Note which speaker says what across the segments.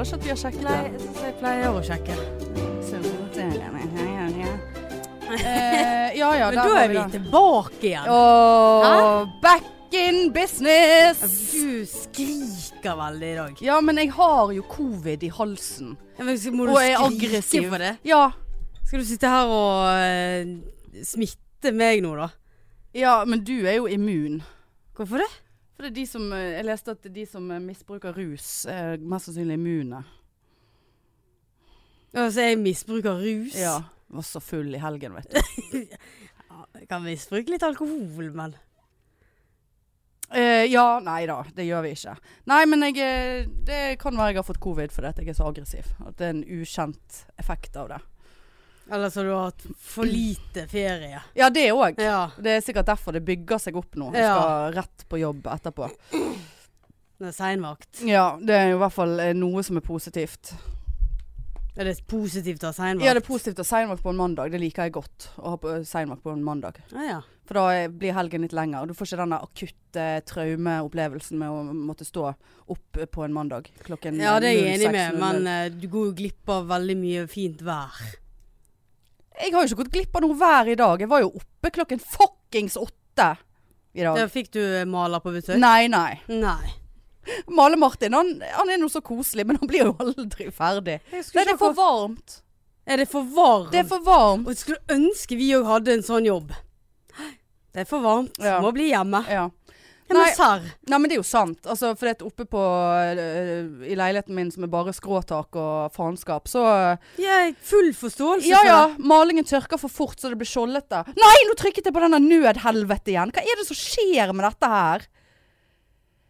Speaker 1: oss at vi har sjekket
Speaker 2: Nei,
Speaker 1: det.
Speaker 2: jeg synes jeg pleier å sjekke. Eh, ja ja, der
Speaker 3: Men da
Speaker 2: var
Speaker 3: er
Speaker 2: vi
Speaker 3: vi
Speaker 2: da.
Speaker 3: tilbake igjen.
Speaker 2: Åh, back in business!
Speaker 3: Du skriker veldig i dag.
Speaker 2: Ja, men jeg har jo covid i halsen.
Speaker 3: Men skal- må du
Speaker 2: Og er
Speaker 3: skrike
Speaker 2: aggressiv.
Speaker 3: for det?
Speaker 2: Ja,
Speaker 3: Skal du sitte her og eh, smitte meg nå, da?
Speaker 2: ja men du er jo immun.
Speaker 3: Hvorfor det?
Speaker 2: For det er de som, eh, Jeg leste at de som eh, misbruker rus, er mest sannsynlig immune.
Speaker 3: Altså, jeg misbruker rus.
Speaker 2: Ja. Var så full i helgen, vet du.
Speaker 3: Jeg kan misbruke litt alkohol, men
Speaker 2: Eh, ja, nei da. Det gjør vi ikke. Nei, men jeg, eh, det kan være jeg har fått covid fordi at jeg er så aggressiv. At det er en ukjent effekt av det.
Speaker 3: Eller så har du hatt for lite ferie.
Speaker 2: Ja, det òg.
Speaker 3: Ja.
Speaker 2: Det er sikkert derfor det bygger seg opp nå. Jeg
Speaker 3: Ja.
Speaker 2: skal rett på jobb etterpå.
Speaker 3: Det er seinvakt.
Speaker 2: Ja, det er jo i hvert fall eh, noe som er positivt.
Speaker 3: Er det positivt å ha seinvakt?
Speaker 2: Ja, det er positivt å ha seinvakt på en mandag. Det liker jeg godt. Å ha på- seinvakt på en mandag.
Speaker 3: Ah, ja.
Speaker 2: For da eh, blir helgen litt lenger. Og du får ikke den der akutte traumeopplevelsen med å måtte stå opp eh, på en mandag klokken
Speaker 3: ja, det er jeg enig
Speaker 2: 06.00.
Speaker 3: med, men eh, du går jo glipp av veldig mye fint vær.
Speaker 2: Jeg har jo ikke gått glipp av noe vær i dag. Jeg var jo oppe klokken fuckings åtte i dag.
Speaker 3: Der fikk du eh, maler på besøk?
Speaker 2: Nei, nei.
Speaker 3: Nei.
Speaker 2: Male-Martin han, han er nå så koselig, men han blir jo aldri ferdig. Nei, det er for varmt.
Speaker 3: Er det for varmt?
Speaker 2: Det er for varmt.
Speaker 3: Og jeg skulle ønske vi òg hadde en sånn jobb. Det er for varmt.
Speaker 2: Ja.
Speaker 3: Må bli hjemme.
Speaker 2: Ja.
Speaker 3: Ja, men
Speaker 2: Nei.
Speaker 3: serr.
Speaker 2: Nei, men det er jo sant. Altså, for det at oppe på, øh, i leiligheten min som er bare skråtak og faenskap, så
Speaker 3: Jeg har full forståelse
Speaker 2: Ja ja,
Speaker 3: for det.
Speaker 2: malingen tørker for fort så det blir skjoldete. Nei, nå trykket jeg på denne nødhelvete igjen! Hva er det som skjer med dette her?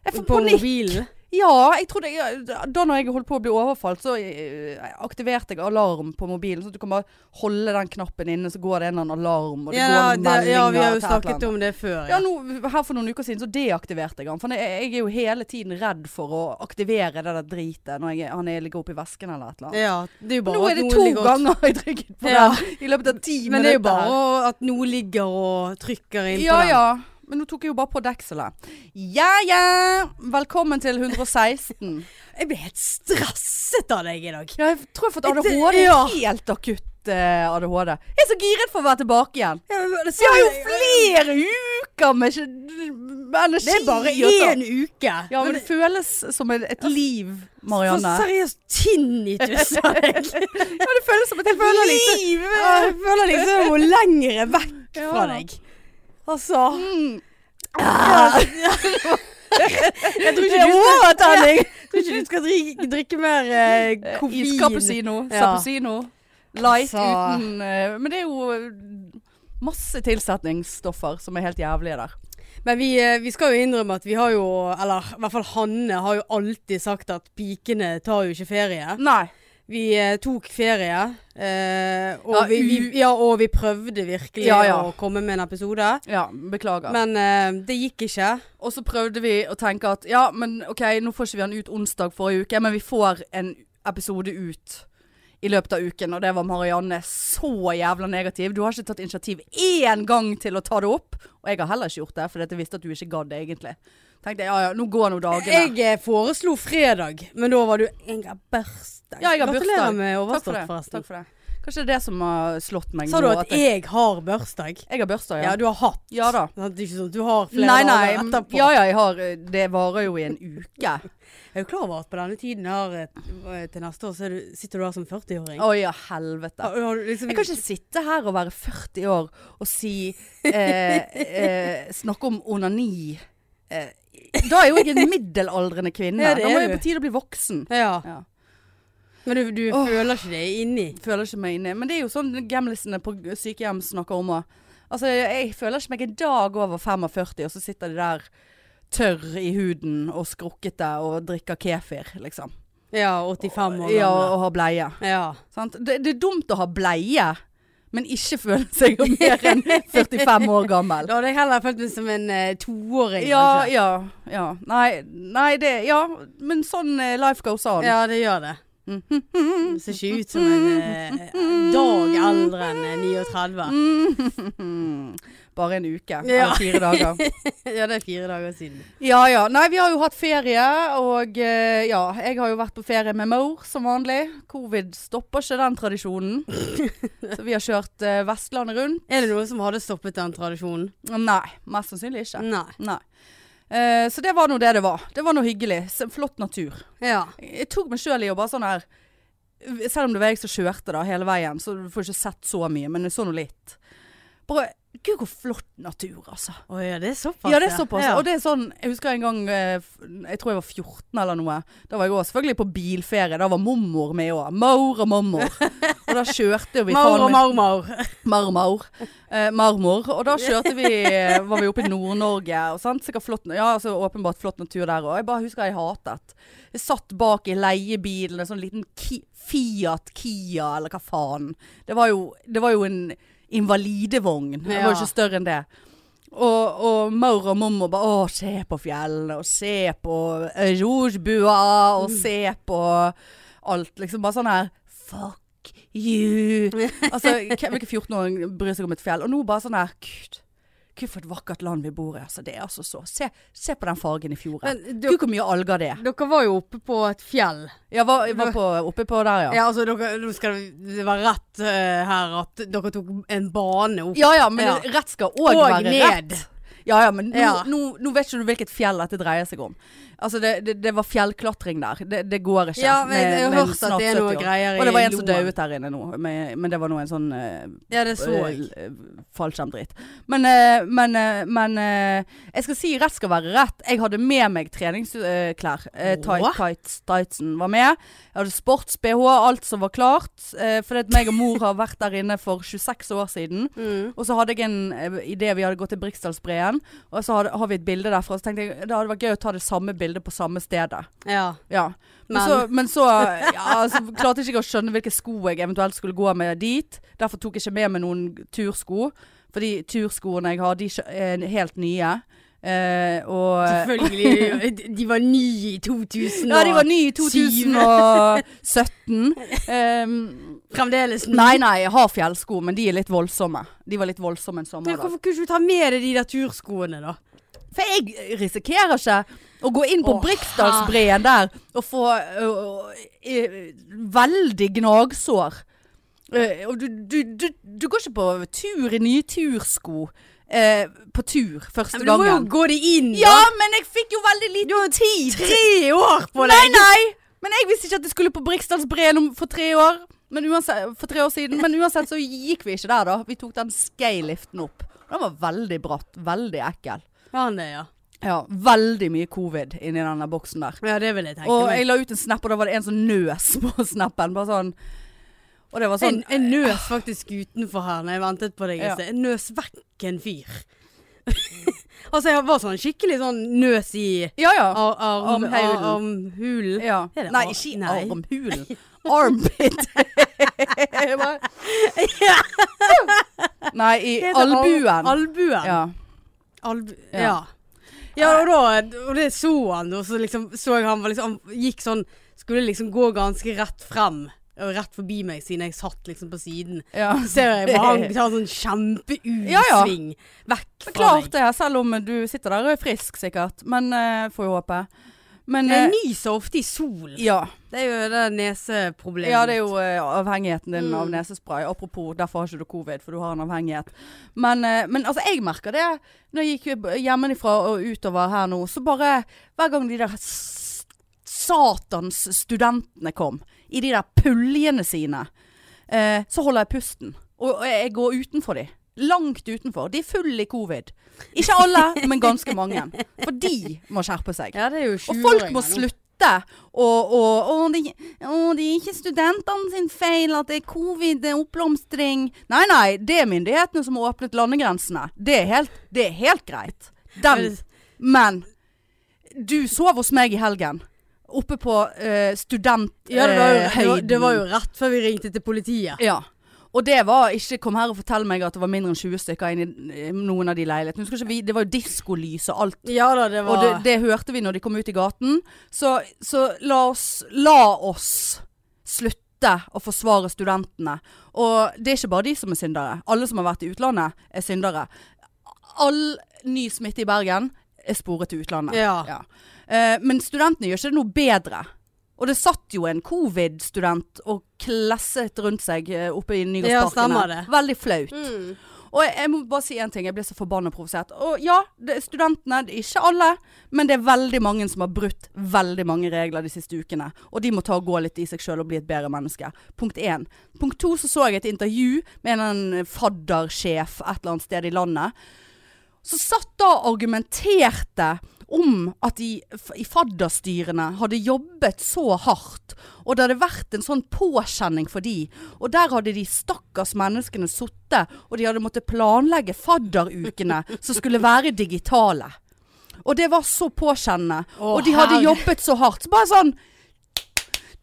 Speaker 2: Jeg får
Speaker 3: På
Speaker 2: panikk.
Speaker 3: mobilen.
Speaker 2: Ja, jeg trodde jeg, Da når jeg holdt på å bli overfalt, så øh, aktiverte jeg alarm på mobilen. Så du kan bare holde den knappen inne, så går det en eller annen alarm, og det
Speaker 3: Ja,
Speaker 2: går
Speaker 3: det,
Speaker 2: meldinger
Speaker 3: ja, vi
Speaker 2: til et
Speaker 3: har jo
Speaker 2: eller annet.
Speaker 3: snakket om det før.
Speaker 2: Ja, nå, her for noen uker siden så deaktiverte jeg han. For jeg, jeg er jo hele tiden redd for å aktivere det der dritet når jeg, han er- ligger oppi vesken eller et eller annet.
Speaker 3: Ja, det er jo bare
Speaker 2: Nå er
Speaker 3: at
Speaker 2: det
Speaker 3: noen
Speaker 2: to
Speaker 3: ligger og-
Speaker 2: ganger jeg trykket på
Speaker 3: Ja.
Speaker 2: den i løpet av ti minutter.
Speaker 3: Men det er jo bare at noe ligger og trykker inn
Speaker 2: Ja
Speaker 3: på den.
Speaker 2: ja. Men nå tok jeg jo bare på dekselet. Ja ja! Velkommen til 116.
Speaker 3: Jeg ble helt stresset av deg i dag.
Speaker 2: Ja, jeg tror jeg har fått
Speaker 3: Det-
Speaker 2: ADHD.
Speaker 3: ja.
Speaker 2: Helt akutt eh, ADHD. Jeg er så giret for å være tilbake igjen. Vi
Speaker 3: Vi
Speaker 2: har jo flere uker med ikke- energi.
Speaker 3: Det er bare
Speaker 2: og sånn.
Speaker 3: én uke.
Speaker 2: Ja, men det føles som et, et liv,
Speaker 3: For
Speaker 2: Marianne.
Speaker 3: seriøst tinnitus av deg.
Speaker 2: Ja, det føles som et
Speaker 3: Jeg føler liksom-
Speaker 2: liv!
Speaker 3: Ja, Jeg føler liksom jeg må lengre vekk
Speaker 2: Ja.
Speaker 3: fra deg. Altså Jeg tror
Speaker 2: Det er
Speaker 3: ikke du skal, overtenning. Jeg tror ikke du skal drikke, drikke mer eh,
Speaker 2: Mm.
Speaker 3: koffein.
Speaker 2: Iscappuccino.
Speaker 3: Ja.
Speaker 2: Sappuccino. Light
Speaker 3: Så.
Speaker 2: uten eh, Men det er jo eh, masse tilsetningsstoffer som er helt jævlige der.
Speaker 3: Men vi, eh, vi skal jo innrømme at vi har jo, eller i hvert fall Hanne har jo alltid sagt at pikene tar jo ikke ferie.
Speaker 2: Nei.
Speaker 3: Vi eh, tok ferie, eh, og,
Speaker 2: Ja,
Speaker 3: vi, vi,
Speaker 2: u-
Speaker 3: ja, og vi prøvde virkelig
Speaker 2: Ja, ja.
Speaker 3: å komme med en episode.
Speaker 2: Ja, beklager.
Speaker 3: Men eh, det gikk ikke.
Speaker 2: og så prøvde vi å tenke at ja, men OK, nå får ikke vi han ut onsdag forrige uke, men vi får en episode ut i løpet av uken. Og det var Marianne så jævla negativ. Du har ikke tatt initiativ én gang til å ta det opp. Og jeg har heller ikke gjort det, fordi at jeg visste at du ikke gadd det, egentlig. Tenkte jeg ja ja, nå går nå dagene.
Speaker 3: Jeg eh, foreslo fredag, men da var du Jeg har bursdag.
Speaker 2: Ja, jeg har
Speaker 3: Gratulerer
Speaker 2: bursdag.
Speaker 3: med
Speaker 2: Takk for
Speaker 3: overstått,
Speaker 2: det.
Speaker 3: forresten.
Speaker 2: Takk for det. Kanskje det er det som har slått meg
Speaker 3: Sa
Speaker 2: nå.
Speaker 3: du at
Speaker 2: jeg,
Speaker 3: jeg har bursdag?
Speaker 2: jeg har bursdag,
Speaker 3: Ja,
Speaker 2: ja.
Speaker 3: du har hatt.
Speaker 2: Ja da.
Speaker 3: Sant? Det er ikke sånn at du har flere
Speaker 2: Nei, nei. mm,
Speaker 3: dager etterpå.
Speaker 2: Ja, ja, jeg har eh, Det varer jo i en uke.
Speaker 3: Jeg er jo klar over at på denne tiden her eh, til neste år, så er du, sitter du der som 40-åring.
Speaker 2: Å ja, helvete.
Speaker 3: Har- har du liksom-
Speaker 2: Jeg kan ikke sitte her og være 40 år og si eh, eh, Snakke om onani. Eh, da er jo jeg en middelaldrende kvinne.
Speaker 3: Ja, det
Speaker 2: da
Speaker 3: er
Speaker 2: må jeg
Speaker 3: du.
Speaker 2: på tide å bli voksen.
Speaker 3: Ja.
Speaker 2: Ja.
Speaker 3: Men du, du
Speaker 2: Åh.
Speaker 3: føler ikke det inni.
Speaker 2: Føler ikke meg inni. Men det er jo sånn gamlisene på sykehjem snakker om òg. Altså, jeg føler ikke meg en dag over 45, og så sitter de der tørr i huden og skrukkete og drikker kefir, liksom.
Speaker 3: Ja, 85 år
Speaker 2: Ja,
Speaker 3: gamle.
Speaker 2: og har bleie.
Speaker 3: Ja.
Speaker 2: Sant? Det, det er dumt å ha bleie, men ikke føle seg mer enn 45 år gammel.
Speaker 3: Da hadde jeg heller følt meg som en eh, toåring,
Speaker 2: Ja,
Speaker 3: kanskje.
Speaker 2: ja, ja. Nei, nei det Ja, men sånn eh, life goes on.
Speaker 3: Ja, Mm. det gjør det. Det ser ikke ut som en eh, dag eldre enn eh, 39.
Speaker 2: Mm. bare en uke.
Speaker 3: Ja.
Speaker 2: Eller fire dager.
Speaker 3: ja, det er fire dager siden.
Speaker 2: Ja ja. Nei, vi har jo hatt ferie, og eh, ja. Jeg har jo vært på ferie med mor som vanlig. Covid stopper ikke den tradisjonen. Så vi har kjørt eh, Vestlandet rundt.
Speaker 3: Er det noe som hadde stoppet den tradisjonen?
Speaker 2: Nei, mest sannsynlig ikke.
Speaker 3: Nei.
Speaker 2: Nei. Eh, så det var nå det det var. Det var noe hyggelig. S- Flott natur.
Speaker 3: Ja.
Speaker 2: Jeg tok meg sjøl i å bare sånn her Selv om det var jeg som kjørte da hele veien, så du får ikke sett så mye, men jeg så nå litt. Bare Gud, hvor flott natur, altså.
Speaker 3: Å ja, det er såpass.
Speaker 2: Ja, det er såpass.
Speaker 3: Ja.
Speaker 2: Og det er sånn, jeg husker en gang, eh, f- jeg tror jeg var 14 eller noe. Da var jeg også selvfølgelig på bilferie. Da var mormor med òg. Maur og mormor. Og da kjørte jo vi
Speaker 3: Maur
Speaker 2: faen
Speaker 3: og
Speaker 2: meg-
Speaker 3: marmor.
Speaker 2: Marmor. Eh, marmor. Og da kjørte vi, eh, var vi oppe i Nord-Norge. og sant? Sikkert flott, ja, altså, åpenbart flott natur der òg. Jeg bare husker jeg hatet. Jeg satt bak i leiebilen, en sånn liten ki Fiat Kia, eller hva faen. Det var jo, det var jo en invalidevogn. Det var
Speaker 3: Ja.
Speaker 2: jo ikke større enn det. Og, og Maur og mormor bare Å, se på fjellene, og se på eh, jordbua, og se på alt. Liksom bare sånn her Fuck you. Altså, hvem- hvilken 14-åring bryr seg om et fjell? Og nå bare sånn her Gud, Gud for et vakkert land vi bor i. Altså, det er altså så Se, se på den fargen i fjorden.
Speaker 3: Men
Speaker 2: Gud,
Speaker 3: dere,
Speaker 2: hvor mye alger det er.
Speaker 3: dere var jo oppe på et fjell.
Speaker 2: Jeg var, jeg var på, oppe på der, ja.
Speaker 3: Ja, altså, dere, nå skal det være rett eh, her at dere tok en bane opp.
Speaker 2: Ja ja, men
Speaker 3: Ja.
Speaker 2: rett skal òg være rett. Ja ja, men nå,
Speaker 3: Ja.
Speaker 2: Nå, nå vet ikke du hvilket fjell dette dreier seg om. Altså, det, det, det var fjellklatring der. Det, det går ikke.
Speaker 3: Ja, men jeg,
Speaker 2: med-
Speaker 3: jeg har
Speaker 2: med
Speaker 3: hørt at
Speaker 2: snart
Speaker 3: det er
Speaker 2: 70
Speaker 3: noe
Speaker 2: år.
Speaker 3: greier i
Speaker 2: Og det var en som
Speaker 3: Loen.
Speaker 2: døde her inne nå, men, men det var nå en sånn eh,
Speaker 3: Ja, det så jeg.
Speaker 2: eh, fallskjermdritt. Men, eh, men, eh, men eh, jeg skal si rett skal være rett. Jeg hadde med meg treningsklær. Eh, tight,
Speaker 3: Åh?
Speaker 2: tights, tightsen var med. Jeg hadde sports-BH, alt som var klart. Uh, fordi at meg og mor har vært der inne for 26 år siden.
Speaker 3: Mm.
Speaker 2: Og så hadde jeg en eh, idé, vi hadde gått til Briksdalsbreen, og så hadde, har vi et bilde derfra. Så tenkte jeg det hadde vært gøy å ta det samme bildet på samme stedet.
Speaker 3: Ja.
Speaker 2: Ja. Men,
Speaker 3: Men-
Speaker 2: så, men så, ja, så klarte jeg ikke å skjønne hvilke sko jeg eventuelt skulle gå med dit. Derfor tok jeg ikke med meg noen tursko. For de turskoene jeg har, de kjø- er helt nye. Eh, og
Speaker 3: Selvfølgelig. De var ny i 2000.
Speaker 2: Ja, de var nye i
Speaker 3: Syv.
Speaker 2: 2017. Em,
Speaker 3: Fremdeles ny.
Speaker 2: Ehm, nei, nei, jeg har fjellsko, men de er litt voldsomme. De var litt voldsomme en
Speaker 3: Men
Speaker 2: sommerdag.
Speaker 3: hvorfor kunne du ikke ta med deg de der turskoene, da?
Speaker 2: For jeg risikerer ikke å gå inn på
Speaker 3: Åh,
Speaker 2: Briksdalsbreen der og få ø, ø, ø, veldig gnagsår. Ø, og du, du, du, du går ikke på tur i nye tursko eh, på tur første
Speaker 3: Men du må jo
Speaker 2: gangen.
Speaker 3: gå de inn. da.
Speaker 2: Ja, men jeg fikk jo veldig liten tid.
Speaker 3: Tre år på
Speaker 2: Nei,
Speaker 3: deg!
Speaker 2: nei! Men jeg visste ikke at jeg skulle på Briksdalsbreen om- for tre år. Men uansett, for tre år siden. Men uansett så gikk vi ikke der, da. Vi tok den skyliften opp. Den var veldig bratt. Veldig ekkel.
Speaker 3: Var han det, ja.
Speaker 2: Ja, veldig mye covid inni denne boksen der.
Speaker 3: Ja, det vil jeg sånn, tenke
Speaker 2: Og
Speaker 3: meg.
Speaker 2: jeg la ut en snap, og da var det en som nøs på snappen. Bare sånn. Og det var sånn
Speaker 3: jeg, jeg nøs faktisk utenfor her når jeg ventet på deg i
Speaker 2: Ja.
Speaker 3: sted. Jeg nøs vekk en fyr. altså, jeg var sånn skikkelig sånn nøs i
Speaker 2: Ja ja.
Speaker 3: ar arm,
Speaker 2: Armhulen.
Speaker 3: ar armhulen.
Speaker 2: ja.
Speaker 3: Er det
Speaker 2: Nei,
Speaker 3: ar-
Speaker 2: ikke i
Speaker 3: nei.
Speaker 2: armhulen. Armpit. Jeg bare- Nei, i
Speaker 3: Heter al-
Speaker 2: albuen.
Speaker 3: Albuen. Ja.
Speaker 2: Ja.
Speaker 3: Albu
Speaker 2: Ja.
Speaker 3: ja. ja. og, da, og det så han, og så liksom, så jeg han var liksom, han gikk sånn Skulle liksom gå ganske rett frem, og rett forbi meg, siden jeg satt liksom på siden.
Speaker 2: ja.
Speaker 3: Så ser jeg bare han tar sånn kjempeutsving
Speaker 2: Ja, ja.
Speaker 3: vekk
Speaker 2: Men
Speaker 3: fra
Speaker 2: klart
Speaker 3: meg.
Speaker 2: det, selv om du sitter der og er frisk sikkert. Men eh, får jo håpe. Men eh,
Speaker 3: Jeg nyser ofte i solen.
Speaker 2: ja.
Speaker 3: Det er jo det neseproblemet.
Speaker 2: Ja, det er jo eh, avhengigheten din av
Speaker 3: Mm.
Speaker 2: nesespray. Apropos, derfor har ikke du covid, for du har en avhengighet. Men, eh, men altså, jeg merker det. Når jeg gikk hjemmefra og utover her nå, så bare Hver gang de der s- satans studentene kom, i de der puljene sine, eh, så holder jeg pusten. Og, og jeg går utenfor de. Langt utenfor. De er full i covid. Ikke alle, men ganske mange. For de må skjerpe seg.
Speaker 3: Ja, det er jo
Speaker 2: Og folk
Speaker 3: 20-åringer
Speaker 2: må
Speaker 3: nå.
Speaker 2: slutte å og, det å, det er ikke studentene sin feil at det er covid, det er oppblomstring. Nei, nei, det er myndighetene som har åpnet landegrensene. Det er helt, det er helt greit. Den. Men du sov hos meg i helgen. Oppe på uh, studenthøyden.
Speaker 3: Ja, det var, jo, det, var, det var jo rett før vi ringte til politiet.
Speaker 2: eh, Ja. Og det var ikke Kom her og fortell meg at det var mindre enn 20 stykker inni eh, noen av de leilighetene. Husker ikke vi- Det var jo diskolys og alt.
Speaker 3: Ja da, det var
Speaker 2: Og det, det hørte vi når de kom ut i gaten. Så, så la, oss, la oss slutte å forsvare studentene. Og det er ikke bare de som er syndere. Alle som har vært i utlandet er syndere. all ny smitte i Bergen er sporet til utlandet.
Speaker 3: Ja.
Speaker 2: Eh, men studentene gjør ikke det noe bedre. Og det satt jo en covid-student og klesset rundt seg eh, oppe i
Speaker 3: Ja,
Speaker 2: Nygårdsparken.
Speaker 3: stemmer det. Mm.
Speaker 2: Veldig flaut. Og jeg, jeg må bare si én ting, jeg ble så forbanna provosert. Og ja, det er studentene, det er ikke alle, men det er veldig mange som har brutt veldig mange regler de siste ukene. Og de må ta og gå litt i seg sjøl og bli et bedre menneske. Punkt én. Punkt to så så jeg et intervju med en eller annen faddersjef et eller annet sted i landet. Så satt da og argumenterte om at de f- i fadderstyrene hadde jobbet så hardt, og det hadde vært en sånn påkjenning for de. Og der hadde de stakkars menneskene sittet, og de hadde måttet planlegge fadderukene som skulle være digitale. Og det var så påkjennende.
Speaker 3: Å,
Speaker 2: og de hadde
Speaker 3: herre-
Speaker 2: jobbet så hardt. Så bare sånn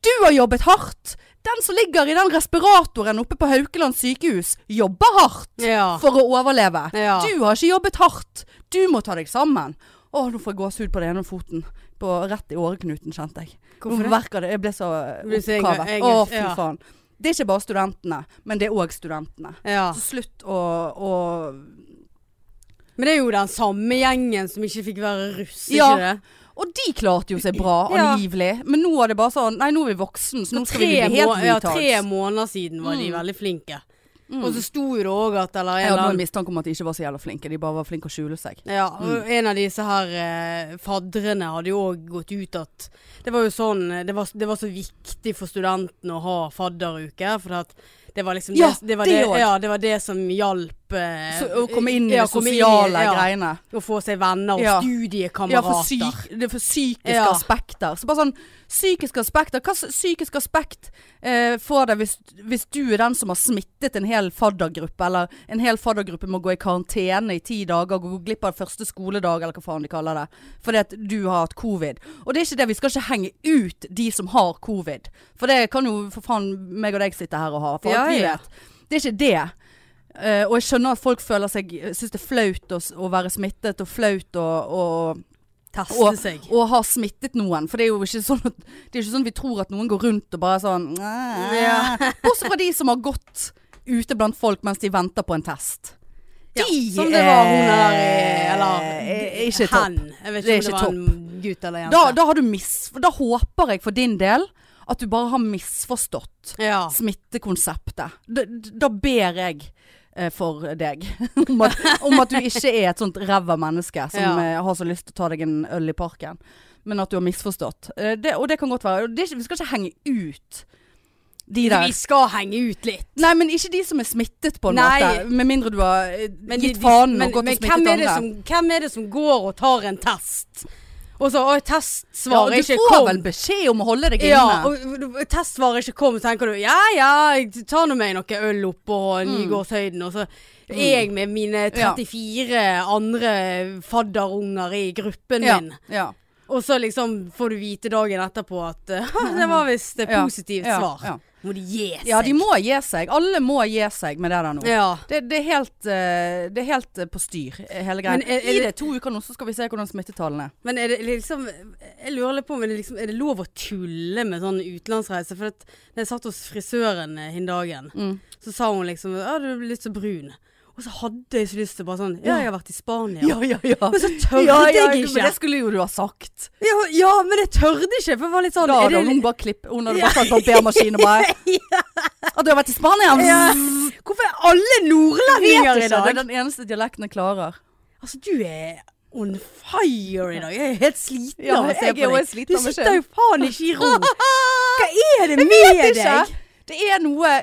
Speaker 2: Du har jobbet hardt! Den som ligger i den respiratoren oppe på Haukeland sykehus, jobber hardt
Speaker 3: Ja.
Speaker 2: for å overleve.
Speaker 3: Ja.
Speaker 2: Du har ikke jobbet hardt. Du må ta deg sammen. Å, nå får jeg gåsehud på den ene foten. På, rett i åreknuten, kjente jeg. Nå
Speaker 3: Hvorfor det?
Speaker 2: verker det? Jeg ble så
Speaker 3: Du blir så enga-
Speaker 2: oppkavet. Å,
Speaker 3: engasj-
Speaker 2: fy
Speaker 3: ja.
Speaker 2: faen. Det er ikke bare studentene, men det er òg studentene.
Speaker 3: Ja.
Speaker 2: Så slutt å, å
Speaker 3: Men det er jo den samme gjengen som ikke fikk være russ,
Speaker 2: Ja.
Speaker 3: ikke det?
Speaker 2: Og de klarte jo seg bra,
Speaker 3: Ja.
Speaker 2: angivelig. Men nå er det bare sånn Nei, nå er vi voksne, så nå skal vi
Speaker 3: Tre
Speaker 2: bli helt Mm.
Speaker 3: må- ja,
Speaker 2: retards.
Speaker 3: tre måneder siden var de veldig flinke.
Speaker 2: Mm.
Speaker 3: Og så sto jo det òg at eller en
Speaker 2: jeg hadde
Speaker 3: eller
Speaker 2: bare en
Speaker 3: annen
Speaker 2: mistanke om at de ikke var så jævla flinke. De bare var flinke å skjule seg.
Speaker 3: ja, og
Speaker 2: Mm.
Speaker 3: En av disse her eh, faddrene hadde jo òg gått ut at Det var jo sånn eh, det var, det var så viktig for studentene å ha fadderuke. For at det var liksom
Speaker 2: Ja,
Speaker 3: det, det, var
Speaker 2: det
Speaker 3: det,
Speaker 2: òg.
Speaker 3: ja, det var det som hjalp eh,
Speaker 2: Så, å komme inn i
Speaker 3: ja,
Speaker 2: de
Speaker 3: komme inn
Speaker 2: sosiale
Speaker 3: ja,
Speaker 2: greiene.
Speaker 3: Å få seg venner og
Speaker 2: Ja. Ja, for,
Speaker 3: studiekamerater.
Speaker 2: syk, det er for psykiske
Speaker 3: Ja.
Speaker 2: aspekter. Så bare sånn, psykiske aspekter Hva slags psykisk aspekt eh, får det hvis, hvis du er den som har smittet en hel faddergruppe, eller en hel faddergruppe må gå i karantene i ti dager og gå glipp av første skoledag, eller hva faen de kaller det, fordi at du har hatt covid. Og det er ikke det, vi skal ikke henge ut de som har covid. For det kan jo for faen meg og deg sitte her og ha. For
Speaker 3: Ja,
Speaker 2: alt vi
Speaker 3: ja.
Speaker 2: vet. Det er ikke det. Eh, og jeg skjønner at folk føler seg Syns det er flaut å, s- å være smittet, og flaut å, å
Speaker 3: Teste
Speaker 2: og,
Speaker 3: seg.
Speaker 2: og har smittet noen. For det er jo ikke sånn at, det er ikke sånn at vi tror at noen går rundt og bare er sånn «Næ».
Speaker 3: Ja.
Speaker 2: Bortsett fra de som har gått ute blant folk mens de venter på en test.
Speaker 3: Ja,
Speaker 2: De
Speaker 3: som det var hun der
Speaker 2: er-
Speaker 3: i- Eller
Speaker 2: er eh, ikke topp.
Speaker 3: hen. Jeg vet
Speaker 2: Det er
Speaker 3: ikke om det
Speaker 2: ikke
Speaker 3: var en gutt eller jente.
Speaker 2: Da, da, har du mis, da håper jeg for din del at du bare har misforstått
Speaker 3: ja.
Speaker 2: smittekonseptet. Da, da ber jeg eh, for deg om at, om at du ikke er et sånt ræva menneske som
Speaker 3: Ja.
Speaker 2: eh, har så lyst til å ta deg en øl i parken, men at du har misforstått. Eh, det, og det kan godt være. Og Det er ikke, vi skal ikke henge ut de
Speaker 3: Vi
Speaker 2: der.
Speaker 3: skal henge ut litt.
Speaker 2: Nei, men ikke de som er smittet, på en
Speaker 3: Nei.
Speaker 2: måte. Med mindre du har eh,
Speaker 3: Men de-
Speaker 2: gitt
Speaker 3: de-
Speaker 2: fanen
Speaker 3: men-
Speaker 2: og gått
Speaker 3: men
Speaker 2: og smittet
Speaker 3: hvem er det
Speaker 2: andre.
Speaker 3: Som, hvem er det som går og tar en test? Og så og
Speaker 2: Ja,
Speaker 3: testsvaret
Speaker 2: du
Speaker 3: ikke
Speaker 2: får
Speaker 3: kom.
Speaker 2: vel beskjed om å holde deg inne.
Speaker 3: ja, og, og testsvaret ikke kom, så tenker du ja ja, jeg tar nå meg noe øl oppå
Speaker 2: Mm.
Speaker 3: Nygårdshøyden, og så er jeg med mine 34 andre fadderunger i gruppen
Speaker 2: ja,
Speaker 3: min.
Speaker 2: ja.
Speaker 3: Og så liksom får du vite dagen etterpå at eh, det var visst et
Speaker 2: Ja,
Speaker 3: positivt
Speaker 2: ja,
Speaker 3: svar.
Speaker 2: ja.
Speaker 3: Må de gi seg?
Speaker 2: ja, de må gi seg. Alle må gi seg med det der nå.
Speaker 3: Ja.
Speaker 2: Det, det, er helt, eh, det er helt eh, på styr, eh, hele greia.
Speaker 3: Men er- er
Speaker 2: Gi
Speaker 3: det-
Speaker 2: det to uker nå, så skal vi se hvordan smittetallene er.
Speaker 3: Men er det liksom Jeg lurer litt på om det liksom, er det lov å tulle med sånn utenlandsreise? For at når jeg satt hos frisøren eh, hin dagen,
Speaker 2: Mm.
Speaker 3: så sa hun liksom Ja, du er litt så brun. Og så hadde jeg så lyst til bare sånn Ja, jeg har vært i Spania.
Speaker 2: ja, ja.
Speaker 3: Men så tørde jeg ikke.
Speaker 2: Men det skulle jo du ha sagt.
Speaker 3: Ja, ja, men jeg tørde ikke, for jeg var litt sånn
Speaker 2: Da
Speaker 3: er
Speaker 2: hadde
Speaker 3: det,
Speaker 2: hun bare klipp Hun hadde bare tatt barbermaskin og bare At du har vært i Spania?
Speaker 3: Ja. liksom Hvorfor er alle nordlendinger i
Speaker 2: Det
Speaker 3: dag?
Speaker 2: er den eneste dialekten jeg klarer.
Speaker 3: Altså, du er on fire i dag. Jeg er helt sliten
Speaker 2: Ja,
Speaker 3: av å se
Speaker 2: jeg er
Speaker 3: på
Speaker 2: også
Speaker 3: deg.
Speaker 2: sliten av
Speaker 3: du
Speaker 2: meg
Speaker 3: sitter jo
Speaker 2: selv.
Speaker 3: faen ikke i ro. Hva er det med
Speaker 2: vet
Speaker 3: deg?
Speaker 2: ikke. Det er noe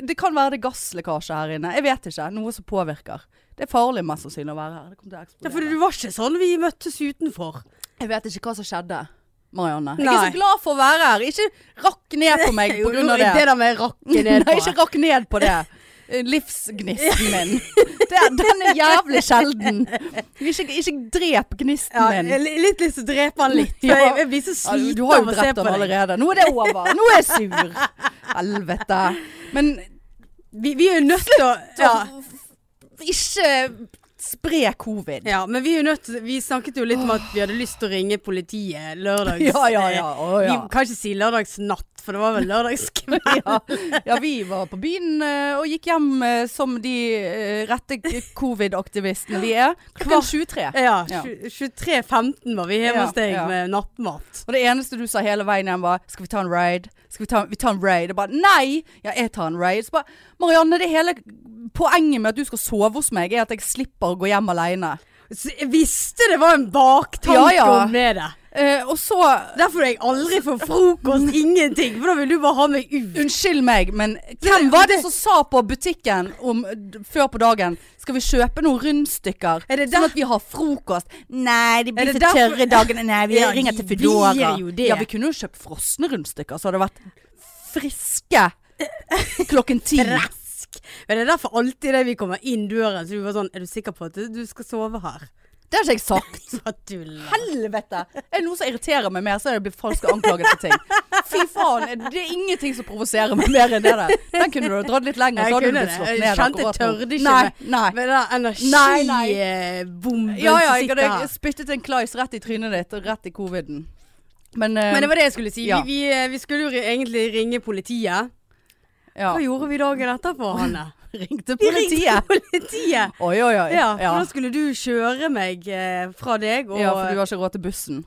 Speaker 2: Det kan være det gasslekkasje her inne. Jeg vet ikke. Noe som påvirker. Det er farlig mest sannsynlig å være her. Det kommer til å
Speaker 3: Ja, for
Speaker 2: eksplodere.
Speaker 3: du var ikke sånn vi møttes utenfor.
Speaker 2: Jeg vet ikke hva som skjedde. Marianne. Jeg er
Speaker 3: Nei.
Speaker 2: så glad for å være her. Ikke rakk ned på meg pga. det.
Speaker 3: Det der med rakke ned
Speaker 2: Nei, ikke rakk ned på det. Eh, Livsgnisten min. Det, den er jævlig sjelden. Ikke, ikke drep gnisten
Speaker 3: Ja, jeg
Speaker 2: min.
Speaker 3: er li- litt lyst til å drepe han litt. for
Speaker 2: Ja.
Speaker 3: Jeg, jeg blir så
Speaker 2: Ja, du-
Speaker 3: sliten
Speaker 2: du har
Speaker 3: av
Speaker 2: jo
Speaker 3: å se
Speaker 2: drept
Speaker 3: på
Speaker 2: ham
Speaker 3: deg.
Speaker 2: allerede. Nå er det over. Nå er jeg sur. Helvete. Men
Speaker 3: Vi, vi er jo nødt til å ja.
Speaker 2: ikke Spre covid.
Speaker 3: Ja, men vi, er jo nødt, til- vi snakket jo litt om at vi hadde lyst til å ringe politiet lørdags...
Speaker 2: Ja, ja, ja. Å,
Speaker 3: Vi
Speaker 2: ja.
Speaker 3: kan ikke si lørdagsnatt, for det var vel lørdagskveld.
Speaker 2: ja. ja, vi var på byen eh, og gikk hjem eh, som de eh, rette k- covid-aktivistene vi er. Klokken 23.
Speaker 3: Ja,
Speaker 2: Ja.
Speaker 3: tju- 23.15 var vi hjemme
Speaker 2: Ja,
Speaker 3: hos deg
Speaker 2: ja.
Speaker 3: med nattmat.
Speaker 2: Og det eneste du sa hele veien hjem var Skal vi ta en ride? Skal vi ta, vi tar en ride? Og bare nei! Ja, jeg tar en ride. Så bare Marianne, det hele poenget med at du skal sove hos meg, er at jeg slipper å gå hjem aleine.
Speaker 3: Så jeg visste det var en
Speaker 2: Ja,
Speaker 3: baktanke
Speaker 2: ja.
Speaker 3: om det. der.
Speaker 2: Eh, og så
Speaker 3: Derfor jeg aldri får frokost, ingenting. For da vil du bare ha meg ut.
Speaker 2: Unnskyld meg, men hvem var det som sa på butikken om, d- før på dagen Skal vi kjøpe noen rundstykker?
Speaker 3: Er det
Speaker 2: Sånn at vi har frokost. Nei, de
Speaker 3: Er
Speaker 2: blir
Speaker 3: det
Speaker 2: for
Speaker 3: derfor-
Speaker 2: tørre dagene. Nei, vi
Speaker 3: Ja,
Speaker 2: ringer
Speaker 3: de
Speaker 2: til Foodora.
Speaker 3: blir jo det.
Speaker 2: Ja, vi kunne jo kjøpt frosne rundstykker, så hadde det vært friske klokken ti.
Speaker 3: Dresk. Men det er derfor alltid det vi kommer inn døren, så du bare sånn Er du sikker på at du du skal sove her?
Speaker 2: Det har ikke jeg sagt.
Speaker 3: Hva tuller
Speaker 2: Helvete! Er det noe som irriterer meg mer, så er det å bli falsk anklaget for ting. Fy faen, er det det er ingenting som provoserer meg mer enn det der. Den kunne du ha dratt litt lenger,
Speaker 3: Jeg
Speaker 2: så hadde du
Speaker 3: kunne
Speaker 2: blitt
Speaker 3: det.
Speaker 2: slått
Speaker 3: Jeg
Speaker 2: ned.
Speaker 3: kjente
Speaker 2: akkurat
Speaker 3: jeg
Speaker 2: nå.
Speaker 3: tørde ikke
Speaker 2: Nei, nei.
Speaker 3: Med den
Speaker 2: Nei, nei.
Speaker 3: energibomben
Speaker 2: Ja, ja,
Speaker 3: som
Speaker 2: jeg
Speaker 3: sitter
Speaker 2: hadde
Speaker 3: her.
Speaker 2: spyttet en klais rett i trynet ditt, og rett i coviden. Men, eh,
Speaker 3: Men det var det jeg skulle si.
Speaker 2: Ja.
Speaker 3: Vi, vi, vi skulle jo egentlig ringe politiet.
Speaker 2: ja.
Speaker 3: Hva gjorde vi dagen etterpå, Hanne?
Speaker 2: ringte
Speaker 3: Vi ringte
Speaker 2: politiet.
Speaker 3: politiet.
Speaker 2: Oi, oi, oi.
Speaker 3: Ja, for da skulle du kjøre meg eh, fra deg, og
Speaker 2: Ja, for du har ikke råd til bussen.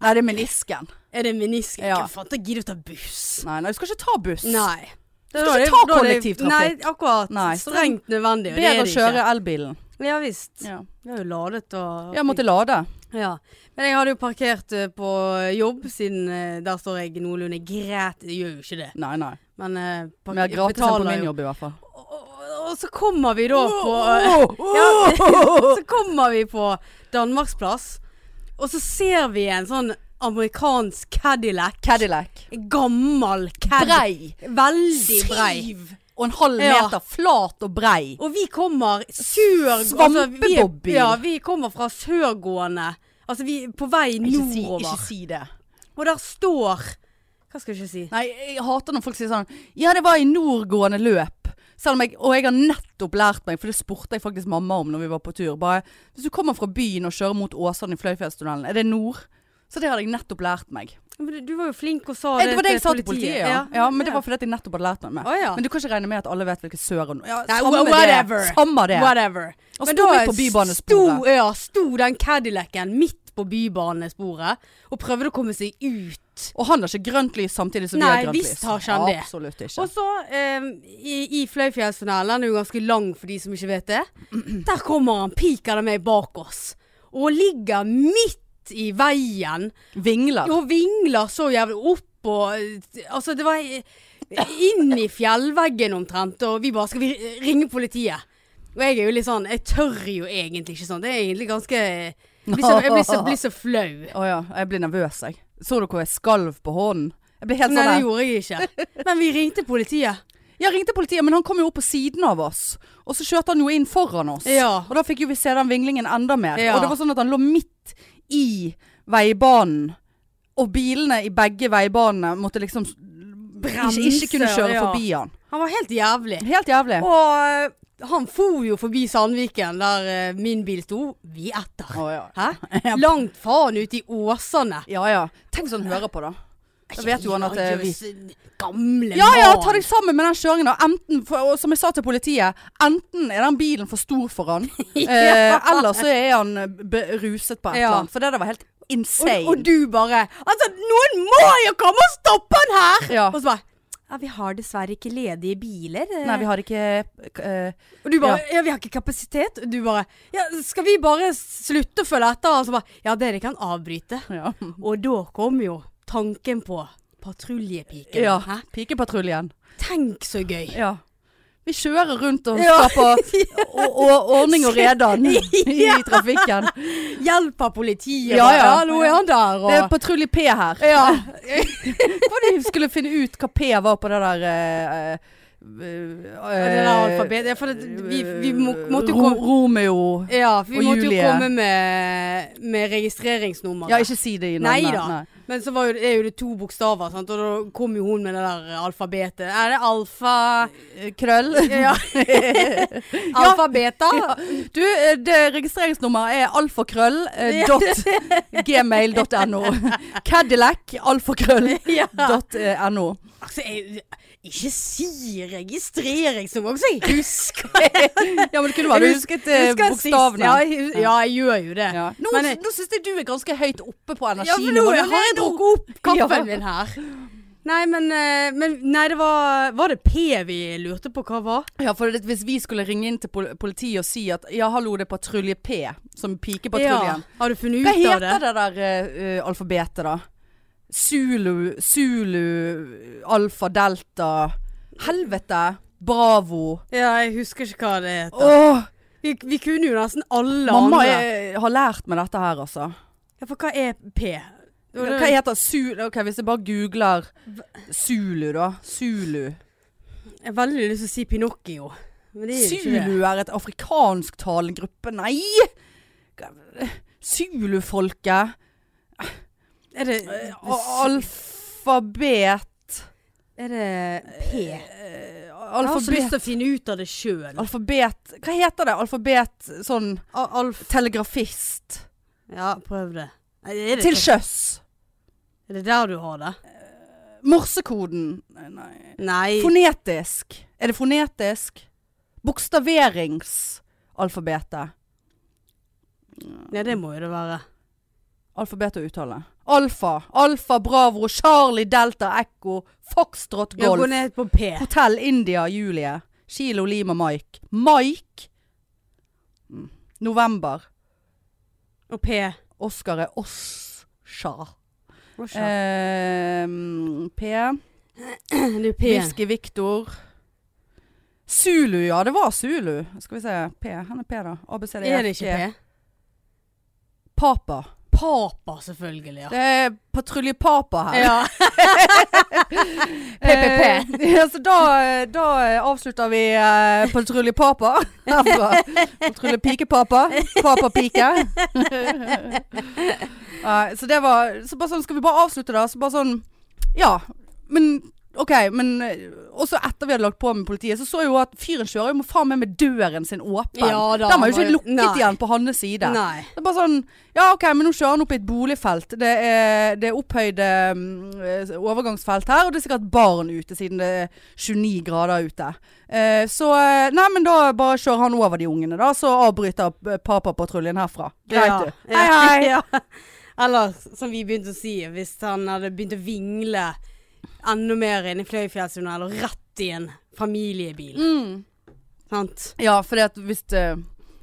Speaker 2: Nei, det er menisken.
Speaker 3: er det menisk?
Speaker 2: Ja.
Speaker 3: Ikke faen, da gidder du å ta buss.
Speaker 2: Nei, nei, du skal ikke ta buss.
Speaker 3: Nei.
Speaker 2: Du skal ikke ta kollektivtrafikk.
Speaker 3: Nei, akkurat.
Speaker 2: Nei.
Speaker 3: Strengt nødvendig. Og det
Speaker 2: Bedre
Speaker 3: er
Speaker 2: å
Speaker 3: det
Speaker 2: kjøre
Speaker 3: ikke.
Speaker 2: elbilen.
Speaker 3: Ja visst.
Speaker 2: Ja.
Speaker 3: Vi har jo ladet og
Speaker 2: Jeg måtte lade.
Speaker 3: Ja. Men jeg hadde jo parkert eh, på jobb, siden eh, der står jeg noenlunde greit. Jeg gjør jo ikke det,
Speaker 2: Nei, nei.
Speaker 3: men eh, park-
Speaker 2: Men jeg er gratis enn på min jobb i hvert fall. eh,
Speaker 3: Og, og- og så kommer vi da på eh, Så kommer vi på Danmarksplass, og så ser vi en sånn amerikansk Cadillac.
Speaker 2: Cadillac.
Speaker 3: En Gammel Cadillac.
Speaker 2: Brei.
Speaker 3: Veldig brei.
Speaker 2: Syv og en halv
Speaker 3: Ja.
Speaker 2: meter. Flat og brei.
Speaker 3: Og vi kommer sør... altså,
Speaker 2: Svampebobby.
Speaker 3: vi, ja, vi kommer fra sørgående. Altså vi er på vei
Speaker 2: Ikke si,
Speaker 3: nordover.
Speaker 2: ikke si det.
Speaker 3: Og der står Hva skal jeg ikke si?
Speaker 2: Nei, jeg hater når folk sier sånn Ja, det var i nordgående løp. Selv om jeg, og jeg har nettopp lært meg, for det spurte jeg faktisk mamma om når vi var på tur. Bare, hvis du kommer fra byen og kjører mot Åsane i Fløyfjellstunnelen, er det nord? Så det hadde jeg nettopp lært meg.
Speaker 3: Men du- Du var jo flink og sa
Speaker 2: Eh, det var det jeg sa til politiet, ja. ja men det
Speaker 3: ja.
Speaker 2: var fordi at jeg nettopp hadde lært meg det.
Speaker 3: Å, ja.
Speaker 2: Men du kan ikke regne med at alle vet hvilket sør og ja,
Speaker 3: Nei,
Speaker 2: samme
Speaker 3: wha- whatever.
Speaker 2: det. Samme det.
Speaker 3: Whatever.
Speaker 2: Og sto vi på bybanesporet.
Speaker 3: Sto, ja, sto den Cadillacen midt på bybanesporet og prøvde å komme seg ut.
Speaker 2: Og han har ikke grønt lys samtidig som
Speaker 3: Nei,
Speaker 2: vi har grønt lys.
Speaker 3: visst har ikke han det.
Speaker 2: Absolutt ikke.
Speaker 3: Og så eh, i, i Fløyfjellstunnelen, den er jo ganske lang for de som ikke vet det. Der kommer han pikende meg bak oss. Og ligger midt i veien
Speaker 2: Vingler.
Speaker 3: og vingler så jævlig opp og Altså, det var eh, inn i fjellveggen omtrent, og vi bare Skal vi ringe politiet? Og jeg er jo litt sånn Jeg tør jo egentlig ikke sånn. Det er egentlig ganske Jeg blir så, jeg blir så, blir så flau.
Speaker 2: Å ja, jeg blir nervøs, jeg. Så du hvor jeg skalv på hånden? Jeg ble helt
Speaker 3: Nei,
Speaker 2: sånn
Speaker 3: det
Speaker 2: der.
Speaker 3: gjorde jeg ikke. Men vi ringte politiet.
Speaker 2: Jeg ringte politiet, men han kom jo opp på siden av oss. Og så kjørte han jo inn foran oss.
Speaker 3: Ja.
Speaker 2: Og da fikk jo vi se den vinglingen enda mer.
Speaker 3: Ja.
Speaker 2: Og det var sånn at han lå midt i veibanen. Og bilene i begge veibanene måtte liksom s-
Speaker 3: Bremse,
Speaker 2: ikke, ikke kunne kjøre
Speaker 3: ja.
Speaker 2: forbi han.
Speaker 3: Han var helt jævlig.
Speaker 2: Helt jævlig.
Speaker 3: Og eh, han for jo forbi Sandviken, der eh, min bil sto. Vi etter.
Speaker 2: Å, ja.
Speaker 3: Hæ? Langt faen ute i Åsane.
Speaker 2: ja ja. Tenk så han hører på, da. Da vet jo han at eh, vi
Speaker 3: Gamle
Speaker 2: Ja ja,
Speaker 3: mann.
Speaker 2: ta deg sammen med den kjøringen. da. Enten, for, og som jeg sa til politiet, enten er den bilen for stor for han, eh, eller så er han eh, beruset på et
Speaker 3: Ja.
Speaker 2: eller annet. For det der var helt insane.
Speaker 3: Og, og du bare Altså, noen må jo komme og stoppe han her!
Speaker 2: Ja.
Speaker 3: Og så bare ja, vi har dessverre ikke ledige biler. eh.
Speaker 2: Nei, vi har ikke eh,
Speaker 3: og du bare ja. vi har ikke kapasitet. Og du bare Ja, skal vi bare slutte å følge etter? Og så bare Ja, dere kan avbryte.
Speaker 2: Ja.
Speaker 3: Og da kom jo tanken på patruljepiken.
Speaker 2: ja.
Speaker 3: Hæ?
Speaker 2: Pikepatruljen.
Speaker 3: Tenk så gøy.
Speaker 2: Ja. Vi kjører rundt og
Speaker 3: Ja.
Speaker 2: skaper og, og, ordning og redan i trafikken.
Speaker 3: Hjelp av politiet.
Speaker 2: Ja,
Speaker 3: bare,
Speaker 2: ja.
Speaker 3: Nå er han der,
Speaker 2: Det er
Speaker 3: og
Speaker 2: patrulje P her.
Speaker 3: Ja.
Speaker 2: Hva var det vi skulle finne ut hva P var på det der eh, eh,
Speaker 3: Ja, det der alfabetet. Ja, for det, vi, vi må, måtte
Speaker 2: eh,
Speaker 3: jo
Speaker 2: Ro-
Speaker 3: komme
Speaker 2: Romeo
Speaker 3: Ja, for vi
Speaker 2: og
Speaker 3: måtte jo
Speaker 2: Julie.
Speaker 3: komme med, med registreringsnummeret.
Speaker 2: Ja, ikke si det i
Speaker 3: Nei
Speaker 2: navnet.
Speaker 3: da. Men så var jo, det er jo det to bokstaver, sant? og da kom jo hun med det der alfabetet. Er det alfa
Speaker 2: Nei. Krøll.
Speaker 3: Ja. alfa beta?
Speaker 2: Du, eh, det registreringsnummeret er alfakrøll eh, dot gmail.no. Cadillac alfakrøll
Speaker 3: Ja.
Speaker 2: dot eh, no.
Speaker 3: Altså, jeg, ikke si registreringsnummer, så jeg husker
Speaker 2: Ja, men det kunne vært husket eh,
Speaker 3: husker sist. Ja,
Speaker 2: bokstavene.
Speaker 3: jeg, hus- ja, jeg gjør jo det.
Speaker 2: Ja. Nå,
Speaker 3: Men
Speaker 2: men, eh,
Speaker 3: jeg-
Speaker 2: nå syns jeg du er ganske høyt oppe på
Speaker 3: Ja, for nå
Speaker 2: energinivået.
Speaker 3: har jeg
Speaker 2: Nå-
Speaker 3: drukket opp kaffen
Speaker 2: Ja.
Speaker 3: min her. Nei, men, eh, men Nei, det var Var det P vi lurte på hva var?
Speaker 2: Ja, for det, hvis vi skulle ringe inn til pol- politiet og si at ja, hallo, det er patrulje P, som pikepatruljen.
Speaker 3: Har du funnet
Speaker 2: Hva
Speaker 3: ut av det?
Speaker 2: heter det der eh, eh, alfabetet, da? Zulu, Zulu, alfa, delta Helvete! Bravo!
Speaker 3: Ja, jeg husker ikke hva det heter.
Speaker 2: Åh,
Speaker 3: Vi, vi kunne jo nesten alle
Speaker 2: mamma
Speaker 3: andre.
Speaker 2: er, har lært meg dette her, altså.
Speaker 3: Ja, for hva er P? Det var det-
Speaker 2: Hva heter Zulu? Ok, Hvis jeg bare googler Zulu, da. Zulu.
Speaker 3: Jeg har veldig lyst til å si Pinocchio. Men det er jo ikke det.
Speaker 2: Zulu er et afrikansktalende gruppe. Nei! Zulu-folket.
Speaker 3: Er det,
Speaker 2: Eh, Alfabet
Speaker 3: er det P? Jeg har så lyst
Speaker 2: Alfabet
Speaker 3: til å finne ut av det sjøl.
Speaker 2: Alfabet Hva heter det? Alfabet sånn
Speaker 3: Alf...
Speaker 2: Telegrafist.
Speaker 3: Ja, prøv det. Nei, Er det,
Speaker 2: Til sjøs.
Speaker 3: er det der du har det?
Speaker 2: Morsekoden. Nei, nei.
Speaker 3: Nei.
Speaker 2: Fonetisk. Er det fonetisk? Bokstaveringsalfabetet.
Speaker 3: Nei, det må jo det være.
Speaker 2: Alfabet og uttale. Alfa. Alfa, Bravo, Charlie, Delta, Echo, Foxtrot,
Speaker 3: Ja, gå
Speaker 2: Golf.
Speaker 3: ned på P.
Speaker 2: Hotell India, Julie. Kilo, Lima, Mike. Mike? Mm. November.
Speaker 3: Og P.
Speaker 2: Oscar er Osha. Eh,
Speaker 3: Russia.
Speaker 2: Ehm, P.
Speaker 3: det er jo P.
Speaker 2: Whisky Victor. Zulu, ja. Det var Zulu. Skal vi se. P. Han er P, da. ABCD.
Speaker 3: Er det ikke P?
Speaker 2: Papa.
Speaker 3: Papa, selvfølgelig. Ja.
Speaker 2: Det er Patrulje Papa her.
Speaker 3: ja. PPP.
Speaker 2: Eh, ja, så da, eh, da eh, avslutter vi eh, Patrulje Papa. Herfra. Patrulje Pike-Papa. Papa-pike. Nei, Eh, så det var så bare sånn, Skal vi bare avslutte, da? Så bare sånn Ja. Men OK, men eh, også etter vi hadde lagt på med politiet, så så jeg jo at fyren kjører jo faen meg med døren sin åpen.
Speaker 3: Ja da,
Speaker 2: Den var jo
Speaker 3: var
Speaker 2: ikke
Speaker 3: jo-
Speaker 2: lukket
Speaker 3: nei.
Speaker 2: igjen på hans side.
Speaker 3: Nei.
Speaker 2: Det er bare sånn Ja, OK, men nå kjører han opp i et boligfelt. Det er, det er opphøyde mm, eh, overgangsfelt her, og det er sikkert barn ute siden det er 29 grader ute. Eh, så eh, Nei, men da bare kjører han over de ungene, da. Så avbryter eh, papapatruljen herfra. Greit,
Speaker 3: Ja.
Speaker 2: du. Hei, hei.
Speaker 3: Ja. Eller som vi begynte å si, hvis han hadde begynt å vingle enda mer inn i Fløyfjellstunnel og rett i en familiebil.
Speaker 2: Mm.
Speaker 3: Sant?
Speaker 2: Ja, fordi at hvis det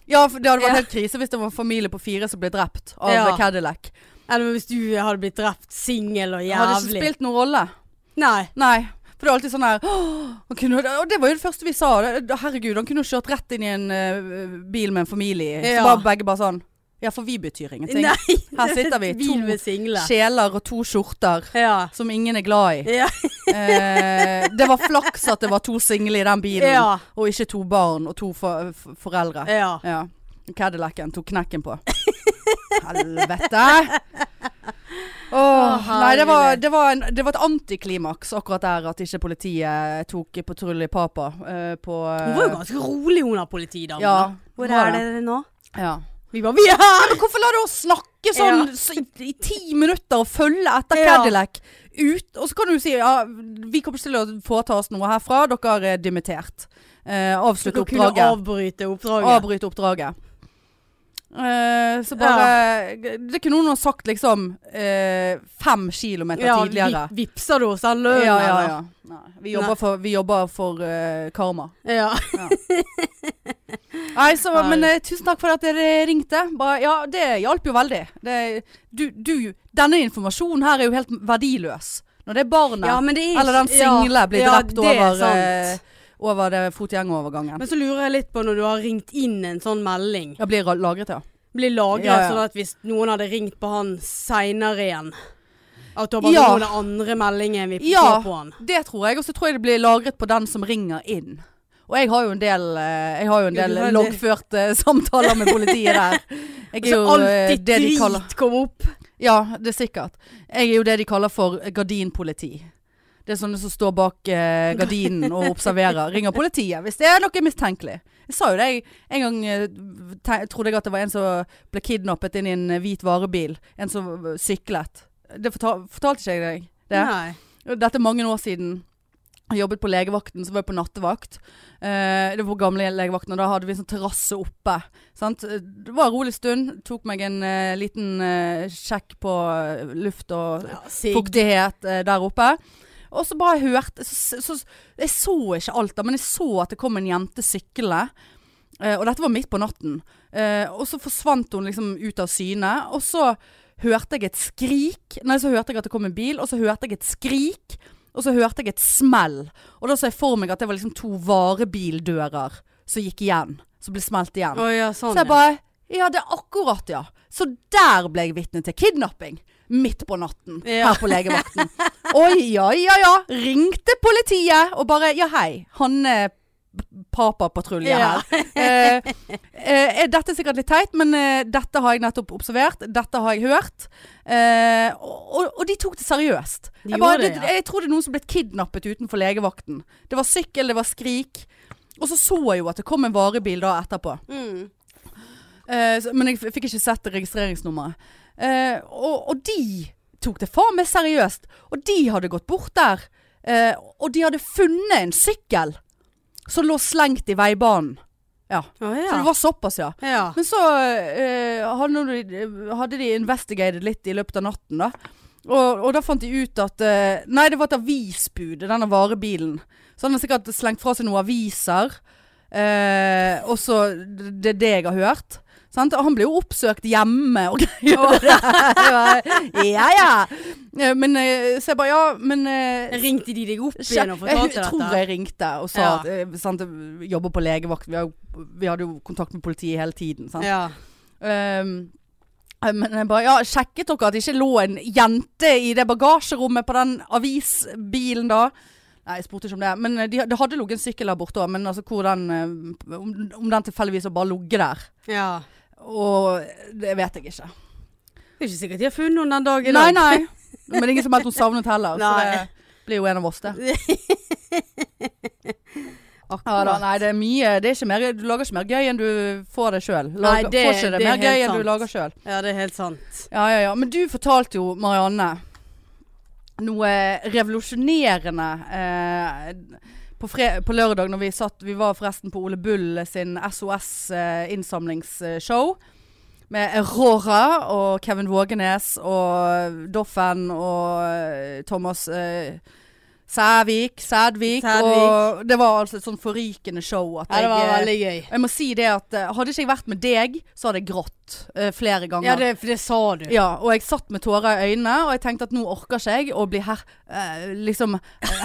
Speaker 2: Ja, for det hadde vært
Speaker 3: Ja.
Speaker 2: helt krise hvis det var en familie på fire som ble drept av
Speaker 3: Ja.
Speaker 2: Cadillac.
Speaker 3: Eller hvis du hadde blitt drept singel og
Speaker 2: Det hadde ikke
Speaker 3: jævlig.
Speaker 2: spilt noen rolle.
Speaker 3: Nei.
Speaker 2: Nei. For det er alltid sånn her «Åh, han kunne, Og det var jo det første vi sa. det- Herregud, han kunne jo kjørt rett inn i en eh, bil med en familie. Så
Speaker 3: Ja.
Speaker 2: bare begge bare sånn Ja, for vi betyr ingenting.
Speaker 3: Nei.
Speaker 2: Her sitter vi,
Speaker 3: Bil
Speaker 2: to
Speaker 3: med single.
Speaker 2: Sjeler og to skjorter
Speaker 3: Ja.
Speaker 2: som ingen er glad i.
Speaker 3: Ja.
Speaker 2: Eh, det var flaks at det var to single i den bilen,
Speaker 3: Ja.
Speaker 2: og ikke to barn og to for, for, foreldre.
Speaker 3: ja.
Speaker 2: Ja. Cadillacen tok knekken på. Helvete! Åh,
Speaker 3: Å,
Speaker 2: nei, det var,
Speaker 3: herregud.
Speaker 2: det, var en, det var et antiklimaks akkurat der at ikke politiet tok patrulje Papa eh, på eh,
Speaker 3: Hun var jo ganske rolig, hun der politidamen.
Speaker 2: Ja.
Speaker 3: da. Hvor er
Speaker 2: det?
Speaker 3: dere nå?
Speaker 2: Ja.
Speaker 3: Vi bare Vi er her!
Speaker 2: Men hvorfor lar du oss snakke sånn
Speaker 3: Ja.
Speaker 2: så, i, i ti minutter og følge etter
Speaker 3: Ja.
Speaker 2: Cadillac? Ut, og så kan du si ja, vi kommer ikke til å foreta oss noe herfra, dere er dimittert. Eh, avslutt
Speaker 3: Dere kunne
Speaker 2: oppdraget.
Speaker 3: avbryte oppdraget.
Speaker 2: Avbryte oppdraget. Eh, så bare Det kunne noen ha sagt liksom eh, fem kilometer
Speaker 3: ja,
Speaker 2: tidligere.
Speaker 3: vip- Vipser du oss den lønnen?
Speaker 2: ja, ja,
Speaker 3: eller?
Speaker 2: ja. Nei, vi jobber for, vi jobber for eh, karma.
Speaker 3: ja.
Speaker 2: Nei, så,
Speaker 3: Nei.
Speaker 2: men eh, tusen takk for at dere ringte. Bare, ja, det hjalp jo veldig. Det, du, du, denne informasjonen her er jo helt verdiløs. Når det er barnet
Speaker 3: Ja, men det er
Speaker 2: eller den
Speaker 3: ikke- ja,
Speaker 2: single blir
Speaker 3: ja,
Speaker 2: drept
Speaker 3: det er
Speaker 2: over,
Speaker 3: sant.
Speaker 2: eh, over det fotgjengerovergangen.
Speaker 3: Men så lurer jeg litt på når du har ringt inn en sånn melding.
Speaker 2: Ja, blir lagret, ja.
Speaker 3: Blir lagret
Speaker 2: Ja, ja.
Speaker 3: sånn at hvis noen hadde ringt på han seinere igjen At du har bare
Speaker 2: Ja.
Speaker 3: noen andre meldinger enn vi
Speaker 2: Ja.
Speaker 3: får på den.
Speaker 2: Det tror jeg, og så tror jeg det blir lagret på den som ringer inn. Og jeg har jo en del, eh, jeg har jo en
Speaker 3: Ja,
Speaker 2: del
Speaker 3: du har det.
Speaker 2: loggførte samtaler med politiet der. Jeg
Speaker 3: Så
Speaker 2: eh,
Speaker 3: alltid
Speaker 2: det de
Speaker 3: drit
Speaker 2: kaller-
Speaker 3: kommer opp.
Speaker 2: Ja, det er sikkert. Jeg er jo det de kaller for gardinpoliti. Det er sånne som står bak eh, gardinen og observerer. Ringer politiet hvis det er noe mistenkelig. Jeg sa jo det. Jeg, en gang eh, te- trodde jeg at det var en som ble kidnappet inn i en hvit varebil. En som eh, syklet. Det fortal, fortalte ikke jeg deg? Det?
Speaker 3: Nei.
Speaker 2: Dette er mange år siden. Jeg jobbet på legevakten, så var jeg på nattevakt. Eh, det var på gamle legevakten, og da hadde vi en sånn terrasse oppe. Sant? Det var en rolig stund. Tok meg en eh, liten eh, sjekk på eh, luft og
Speaker 3: Ja, sigg.
Speaker 2: fuktighet eh, der oppe. Og så bare hørte så, så, Jeg så ikke alt, da, men jeg så at det kom en jente syklende. Eh, og dette var midt på natten. Eh, og så forsvant hun liksom ut av syne. Og så hørte jeg et skrik. Nei, så hørte jeg at det kom en bil, og så hørte jeg et skrik. Og så hørte jeg et smell. Og da så jeg for meg at det var liksom to varebildører som gikk igjen. Som ble smelt igjen.
Speaker 3: Å ja, sånn.
Speaker 2: Så jeg bare Ja, det er akkurat, ja. Så der ble jeg vitne til kidnapping. Midt på natten
Speaker 3: Ja.
Speaker 2: her på legevakten. Oi, ja, ja, ja. Ringte politiet og bare Ja, hei. Hanne Papa-patrulje
Speaker 3: Ja.
Speaker 2: her. Eh, eh, er dette er sikkert litt teit, men eh, dette har jeg nettopp observert. Dette har jeg hørt. Eh, og, og, og de tok det seriøst.
Speaker 3: De
Speaker 2: jeg, bare,
Speaker 3: gjorde det, ja.
Speaker 2: jeg tror det er noen som ble kidnappet utenfor legevakten. Det var sykkel, det var skrik. Og så så jeg jo at det kom en varebil da etterpå.
Speaker 3: Mm.
Speaker 2: Eh, så- men jeg f- fikk ikke sett registreringsnummeret. Eh, og, og de tok det faen meg seriøst. Og de hadde gått bort der. eh, og de hadde funnet en sykkel som lå slengt i veibanen. Ja.
Speaker 3: Å
Speaker 2: Så
Speaker 3: ja.
Speaker 2: det var såpass, ja.
Speaker 3: ja.
Speaker 2: Men så eh, hadde, de, hadde de investigated litt i løpet av natten, da. Og, og da fant de ut at eh, Nei, det var et avisbud i denne varebilen. Så han har sikkert slengt fra seg noen aviser. Eh, og så Det er det jeg har hørt. Sant? Og Han ble jo oppsøkt hjemme og greier. ja, ja. Eh, Men eh, så jeg bare Ja, men eh,
Speaker 3: Ringte de deg opp
Speaker 2: Sjef,
Speaker 3: igjen og
Speaker 2: jeg
Speaker 3: fortalte
Speaker 2: tror
Speaker 3: dette?
Speaker 2: jeg ringte og sa
Speaker 3: Ja.
Speaker 2: at eh, sant, jeg jobber på legevakt. Vi, har, jo- vi hadde jo kontakt med politiet hele tiden. Sant?
Speaker 3: Ja.
Speaker 2: Ehm, men jeg bare, ja, sjekket dere at det ikke lå en jente i det bagasjerommet på den avisbilen da? Nei, jeg spurte ikke om det. Men eh, de, det hadde ligget en sykkel der borte òg. Men altså, hvor den, eh, om, om den tilfeldigvis har bare ligget der.
Speaker 3: ja.
Speaker 2: Og det vet jeg ikke.
Speaker 3: Det er ikke sikkert de har funnet noen den dag i
Speaker 2: Nei,
Speaker 3: dag.
Speaker 2: nei. Men det er ingen som meldte hun savnet heller. Så
Speaker 3: Nei.
Speaker 2: det blir jo en av oss, det. Ja, da,
Speaker 3: Akkurat.
Speaker 2: nei, det er mye. Det er ikke mer, du lager ikke mer gøy enn du får det sjøl.
Speaker 3: Nei,
Speaker 2: Får
Speaker 3: det-
Speaker 2: ikke det,
Speaker 3: det er
Speaker 2: mer gøy
Speaker 3: helt
Speaker 2: enn
Speaker 3: sant.
Speaker 2: du lager sjøl.
Speaker 3: Ja, det er helt sant.
Speaker 2: Ja, ja, ja. Men du fortalte jo, Marianne, noe revolusjonerende eh, på, fre på lørdag når vi satt Vi var forresten på Ole Bull sin SOS-innsamlingsshow. eh, med Aurora og Kevin Vågenes og Doffen og eh, Thomas eh, Sævik, Sædvik.
Speaker 3: Sædvik.
Speaker 2: Og det var altså et sånn forrykende show. At
Speaker 3: Ja, det var
Speaker 2: jeg, eh,
Speaker 3: veldig gøy.
Speaker 2: jeg må si det at eh, hadde ikke jeg vært med deg, så hadde jeg grått eh, flere ganger.
Speaker 3: Ja, det, for det sa du.
Speaker 2: Ja, og jeg satt med tårer i øynene, og jeg tenkte at nå orker ikke jeg å bli her, eh, liksom